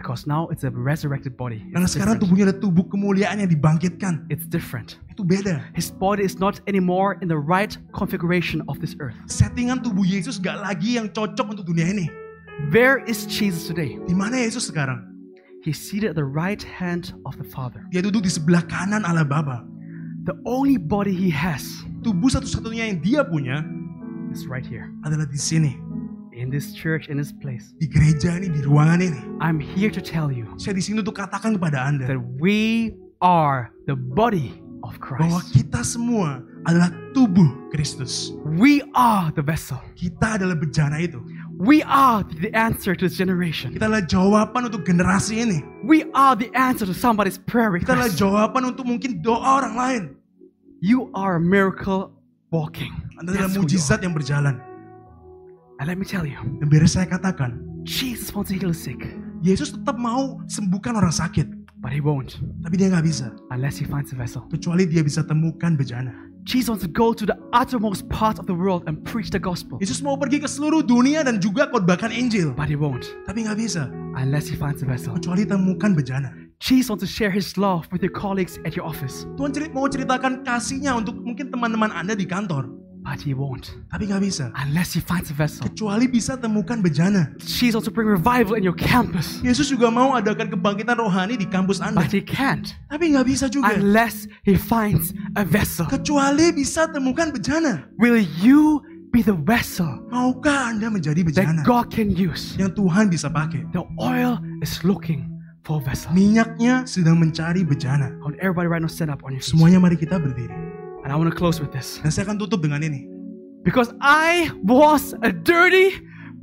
Speaker 1: Because now it's a resurrected body.
Speaker 2: Karena sekarang tubuhnya ada tubuh kemuliaan yang dibangkitkan.
Speaker 1: It's different.
Speaker 2: Itu beda.
Speaker 1: His body is not anymore in the right configuration of this earth.
Speaker 2: Settingan tubuh Yesus gak lagi yang cocok untuk dunia ini.
Speaker 1: Where is Jesus today?
Speaker 2: Di mana Yesus sekarang?
Speaker 1: He's seated at the right hand of the Father.
Speaker 2: Dia duduk di sebelah kanan Allah Bapa.
Speaker 1: The only body he has
Speaker 2: Tubuh satu-satunya yang dia punya
Speaker 1: is right here.
Speaker 2: adalah di sini.
Speaker 1: in this church, in this place,
Speaker 2: Di gereja ini, di ruangan ini.
Speaker 1: I'm here to tell you
Speaker 2: Saya di sini untuk katakan kepada Anda.
Speaker 1: that we are the body of
Speaker 2: bahwa
Speaker 1: Christ.
Speaker 2: kita semua adalah tubuh Kristus.
Speaker 1: We are the vessel.
Speaker 2: Kita adalah bejana itu.
Speaker 1: We are the answer to this generation.
Speaker 2: Kita adalah jawaban untuk generasi ini.
Speaker 1: We are the answer to somebody's prayer
Speaker 2: Kita adalah
Speaker 1: request.
Speaker 2: jawaban untuk mungkin doa orang lain.
Speaker 1: You are a miracle walking.
Speaker 2: Anda adalah
Speaker 1: That's who you
Speaker 2: mujizat yang berjalan.
Speaker 1: are. And let me tell you,
Speaker 2: Dan biar saya katakan,
Speaker 1: Jesus wants to heal the sick,
Speaker 2: Yesus tetap mau sembuhkan orang sakit.
Speaker 1: but he won't
Speaker 2: Tapi dia nggak bisa.
Speaker 1: unless he finds a vessel.
Speaker 2: Kecuali dia bisa temukan bejana.
Speaker 1: Jesus wants to go to the uttermost parts of the world and preach the gospel,
Speaker 2: Yesus mau pergi ke seluruh dunia dan juga khotbahkan Injil.
Speaker 1: but he won't
Speaker 2: Tapi nggak bisa.
Speaker 1: unless he finds a vessel.
Speaker 2: Kecuali temukan bejana.
Speaker 1: Jesus wants to share his love with your colleagues at your office,
Speaker 2: Tuhan cerit mau ceritakan kasihnya untuk mungkin teman-teman Anda di kantor.
Speaker 1: but he won't
Speaker 2: Tapi nggak bisa.
Speaker 1: unless he finds a vessel.
Speaker 2: Kecuali bisa temukan bejana.
Speaker 1: She's also bring revival in your campus,
Speaker 2: Yesus juga mau adakan kebangkitan rohani di kampus Anda.
Speaker 1: but he can't
Speaker 2: Tapi nggak bisa juga.
Speaker 1: unless he finds a vessel.
Speaker 2: Kecuali bisa temukan bejana.
Speaker 1: Will you be the vessel
Speaker 2: Maukah Anda menjadi bejana
Speaker 1: that God can use?
Speaker 2: yang Tuhan bisa pakai?
Speaker 1: The oil is looking for a vessel.
Speaker 2: Minyaknya sedang mencari bejana.
Speaker 1: I want everybody right now stand up on your feet.
Speaker 2: Semuanya mari kita berdiri.
Speaker 1: And I want to close with this.
Speaker 2: Dan saya akan tutup dengan ini.
Speaker 1: Because I was a dirty,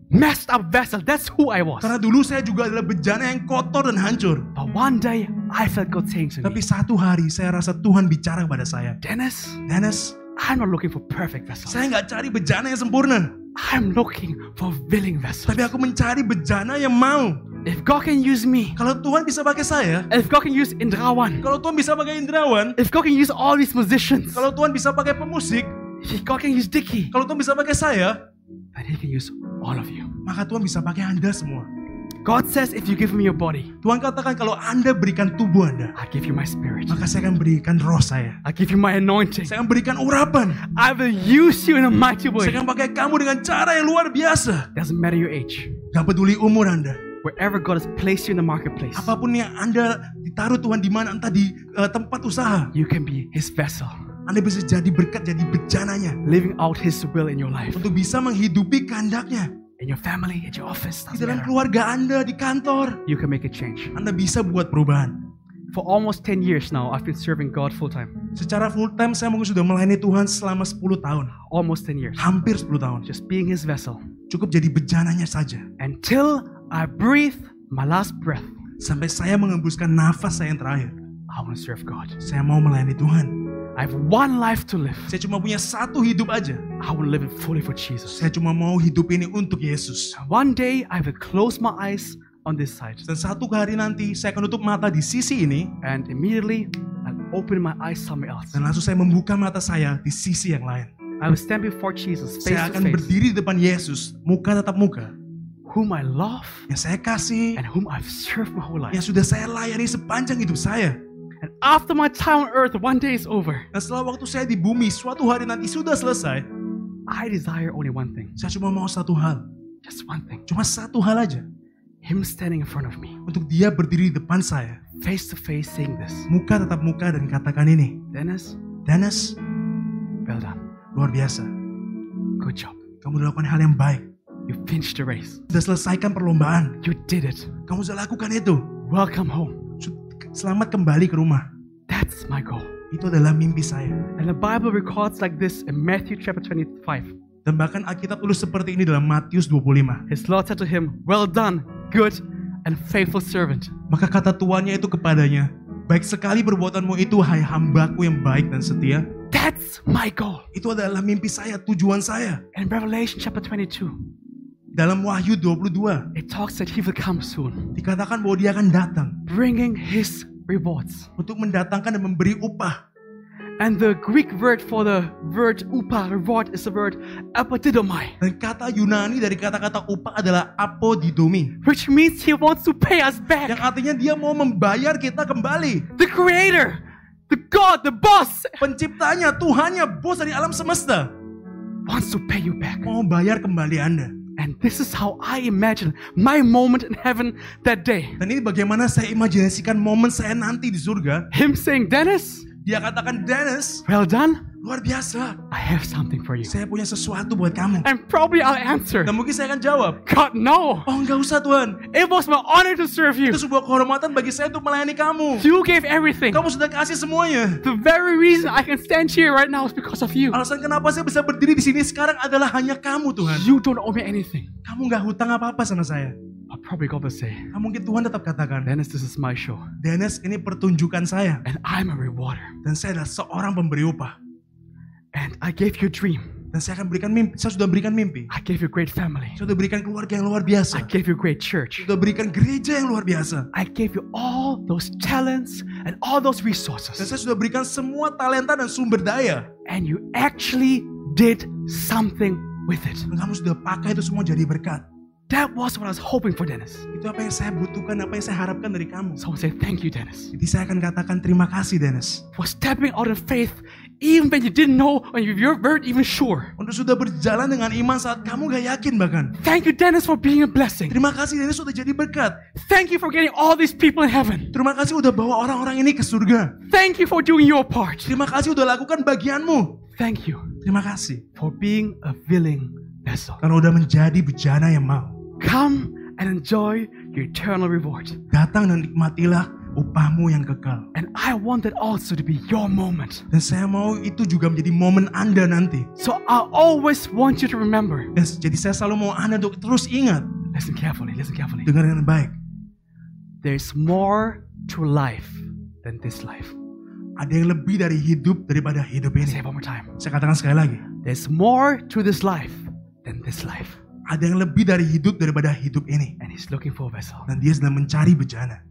Speaker 1: messed up vessel. That's who I was.
Speaker 2: Karena dulu saya juga adalah bejana yang kotor dan hancur.
Speaker 1: But one day I felt God saying to
Speaker 2: Tapi
Speaker 1: me,
Speaker 2: satu hari saya rasa Tuhan bicara kepada saya.
Speaker 1: Dennis,
Speaker 2: Dennis,
Speaker 1: I'm not looking for perfect vessels.
Speaker 2: saya nggak cari bejana yang sempurna.
Speaker 1: I'm looking for willing vessels.
Speaker 2: Tapi aku mencari bejana yang mau.
Speaker 1: If God can use me,
Speaker 2: Kalau Tuhan bisa pakai saya,
Speaker 1: if God can use Indrawan,
Speaker 2: kalau Tuhan bisa pakai Indrawan,
Speaker 1: if God can use all these musicians,
Speaker 2: kalau Tuhan bisa pakai pemusik,
Speaker 1: if God can use Dicky,
Speaker 2: Kalau Tuhan bisa pakai saya,
Speaker 1: then He can use all of you.
Speaker 2: maka Tuhan bisa pakai Anda semua.
Speaker 1: God says, if you give me your body,
Speaker 2: Tuhan katakan kalau Anda berikan tubuh Anda,
Speaker 1: I give you my spirit.
Speaker 2: maka saya akan berikan roh saya.
Speaker 1: I give you my anointing.
Speaker 2: Saya akan berikan urapan.
Speaker 1: I will use you in a mighty
Speaker 2: Saya
Speaker 1: way.
Speaker 2: akan pakai kamu dengan cara yang luar biasa.
Speaker 1: Doesn't matter your age.
Speaker 2: Gak peduli umur Anda.
Speaker 1: Wherever God has placed you in the marketplace,
Speaker 2: Apapun yang Anda ditaruh Tuhan di mana, entah di eh, tempat usaha.
Speaker 1: you can be His vessel,
Speaker 2: Anda bisa jadi berkat, jadi bejananya.
Speaker 1: living out His will in your life,
Speaker 2: Untuk bisa menghidupi kehendaknya.
Speaker 1: in your family, at your office.
Speaker 2: Di
Speaker 1: Doesn't
Speaker 2: dalam
Speaker 1: matter.
Speaker 2: keluarga Anda, di kantor.
Speaker 1: You can make a change.
Speaker 2: Anda bisa buat perubahan.
Speaker 1: For almost 10 years now, I've been serving God full time.
Speaker 2: Secara full time saya mungkin sudah melayani Tuhan selama 10 tahun.
Speaker 1: Almost 10 years.
Speaker 2: Hampir 10 tahun.
Speaker 1: Just being His vessel.
Speaker 2: Cukup jadi bejananya saja.
Speaker 1: Until I breathe my last breath,
Speaker 2: Sampai saya mengembuskan nafas saya yang terakhir.
Speaker 1: I want to serve God.
Speaker 2: Saya mau melayani Tuhan.
Speaker 1: I have one life to live.
Speaker 2: Saya cuma punya satu hidup aja.
Speaker 1: I want to live it fully for Jesus.
Speaker 2: Saya cuma mau hidup ini untuk Yesus.
Speaker 1: One day, I will close my eyes on this side,
Speaker 2: Dan satu hari nanti saya akan tutup mata di sisi ini.
Speaker 1: and immediately, I'll open my eyes somewhere else.
Speaker 2: Dan langsung saya membuka mata saya di sisi yang lain.
Speaker 1: I will stand before Jesus, face
Speaker 2: Saya
Speaker 1: to
Speaker 2: akan
Speaker 1: face,
Speaker 2: berdiri di depan Yesus. Muka tetap muka.
Speaker 1: whom I love
Speaker 2: Yang saya kasih.
Speaker 1: and whom I've served my whole life.
Speaker 2: Yang sudah saya layani sepanjang hidup saya.
Speaker 1: And after my time on earth, one day is over.
Speaker 2: Dan setelah waktu saya di bumi, suatu hari nanti sudah selesai.
Speaker 1: I desire only one thing,
Speaker 2: Saya cuma mau satu hal.
Speaker 1: just one thing
Speaker 2: Cuma satu hal aja.
Speaker 1: Him standing in front of me,
Speaker 2: Untuk dia berdiri di depan saya.
Speaker 1: face to face, saying this
Speaker 2: muka tetap muka dan katakan ini,
Speaker 1: Dennis,
Speaker 2: Dennis,
Speaker 1: well done.
Speaker 2: luar biasa.
Speaker 1: Good job.
Speaker 2: Kamu udah lakukan hal yang baik.
Speaker 1: You finished the race.
Speaker 2: Sudah selesaikan perlombaan.
Speaker 1: You did it.
Speaker 2: Kamu sudah lakukan itu.
Speaker 1: Welcome home.
Speaker 2: Su- Selamat kembali ke rumah.
Speaker 1: That's my goal.
Speaker 2: Itu adalah mimpi saya.
Speaker 1: And the Bible records like this in Matthew chapter 25.
Speaker 2: Dan bahkan Alkitab tulis seperti ini dalam Matius 25.
Speaker 1: His Lord said to him, Well done, good and faithful servant.
Speaker 2: Maka kata tuannya itu kepadanya, Baik sekali perbuatanmu itu, hai hambaku yang baik dan setia.
Speaker 1: That's my goal.
Speaker 2: Itu adalah mimpi saya, tujuan saya.
Speaker 1: In Revelation chapter 22,
Speaker 2: Dalam Wahyu 22,
Speaker 1: it talks that he will come soon,
Speaker 2: dikatakan bahwa dia akan datang
Speaker 1: bringing his rewards.
Speaker 2: untuk mendatangkan dan memberi upah.
Speaker 1: And the Greek word for the word upa, reward, is the word apatidomai,
Speaker 2: Dan kata Yunani dari kata-kata upah adalah apodidomi.
Speaker 1: which means he wants to pay us back.
Speaker 2: Yang artinya dia mau membayar kita kembali.
Speaker 1: The creator, the God, the boss
Speaker 2: Penciptanya, Tuhannya, bos dari alam semesta.
Speaker 1: wants to pay you back.
Speaker 2: Mau bayar kembali Anda.
Speaker 1: And this is how I imagine my moment in heaven that day.
Speaker 2: Dan ini bagaimana saya imajinasikan momen saya nanti di surga.
Speaker 1: Him saying, Dennis,
Speaker 2: Dia katakan, Dennis,
Speaker 1: well done,
Speaker 2: luar biasa.
Speaker 1: I have something for you.
Speaker 2: Saya punya sesuatu buat kamu.
Speaker 1: And probably I'll answer,
Speaker 2: Dan mungkin saya akan jawab,
Speaker 1: God, no.
Speaker 2: Oh nggak usah Tuhan.
Speaker 1: It was my honor to serve you.
Speaker 2: Itu sebuah kehormatan bagi saya untuk melayani kamu.
Speaker 1: You gave everything.
Speaker 2: Kamu sudah kasih semuanya.
Speaker 1: The very reason I can stand here right now is because of you.
Speaker 2: Alasan kenapa saya bisa berdiri di sini sekarang adalah hanya kamu Tuhan.
Speaker 1: You don't owe me anything.
Speaker 2: Kamu nggak hutang apa-apa sama saya.
Speaker 1: But probably God will say,
Speaker 2: Nah, mungkin Tuhan tetap katakan,
Speaker 1: Dennis, this is my show,
Speaker 2: Dennis ini pertunjukan saya.
Speaker 1: and I'm a rewarder.
Speaker 2: Dan saya adalah seorang pemberi upah.
Speaker 1: And I gave you a dream.
Speaker 2: Dan saya akan berikan mimpi. Saya sudah berikan mimpi.
Speaker 1: I gave you a great family.
Speaker 2: Saya sudah berikan keluarga yang luar
Speaker 1: I
Speaker 2: biasa.
Speaker 1: gave you a great church.
Speaker 2: Sudah berikan gereja yang luar biasa.
Speaker 1: I gave you all those talents and all those
Speaker 2: Dan
Speaker 1: resources.
Speaker 2: saya sudah berikan semua talenta dan sumber daya.
Speaker 1: And you actually did something with it.
Speaker 2: Dan kamu sudah pakai itu semua jadi berkat.
Speaker 1: That was what I was hoping for, Dennis.
Speaker 2: Itu apa yang saya butuhkan, apa yang saya harapkan dari kamu.
Speaker 1: So I say, Thank you, Dennis,
Speaker 2: Jadi saya akan katakan terima kasih Dennis.
Speaker 1: for stepping out in faith, even when you didn't know, when you you weren't even sure.
Speaker 2: Untuk sudah berjalan dengan iman saat kamu gak yakin bahkan.
Speaker 1: Thank you, Dennis, for being a blessing.
Speaker 2: Terima kasih Dennis sudah jadi berkat.
Speaker 1: Thank you for getting all these people in heaven.
Speaker 2: Terima kasih udah bawa orang-orang ini ke surga.
Speaker 1: Thank you for doing your part.
Speaker 2: Terima kasih udah lakukan bagianmu.
Speaker 1: Thank you
Speaker 2: Terima kasih.
Speaker 1: for being a willing vessel.
Speaker 2: Karena udah menjadi bejana yang mau.
Speaker 1: Come and enjoy your eternal reward.
Speaker 2: Datang dan nikmatilah upahmu yang kekal.
Speaker 1: And I want that also to be your moment.
Speaker 2: Dan saya mau itu juga menjadi momen Anda nanti.
Speaker 1: So I always want you to remember.
Speaker 2: Dan jadi saya selalu mau Anda untuk terus ingat.
Speaker 1: Listen carefully, listen carefully.
Speaker 2: Dengar dengan baik.
Speaker 1: There's more to life than this life.
Speaker 2: Ada yang lebih dari hidup daripada hidup
Speaker 1: I say it
Speaker 2: ini.
Speaker 1: one more time.
Speaker 2: Saya katakan sekali lagi.
Speaker 1: There's more to this life than this life.
Speaker 2: Ada yang lebih dari hidup daripada hidup ini.
Speaker 1: And he's looking for a vessel.
Speaker 2: Dan dia sedang mencari bejana.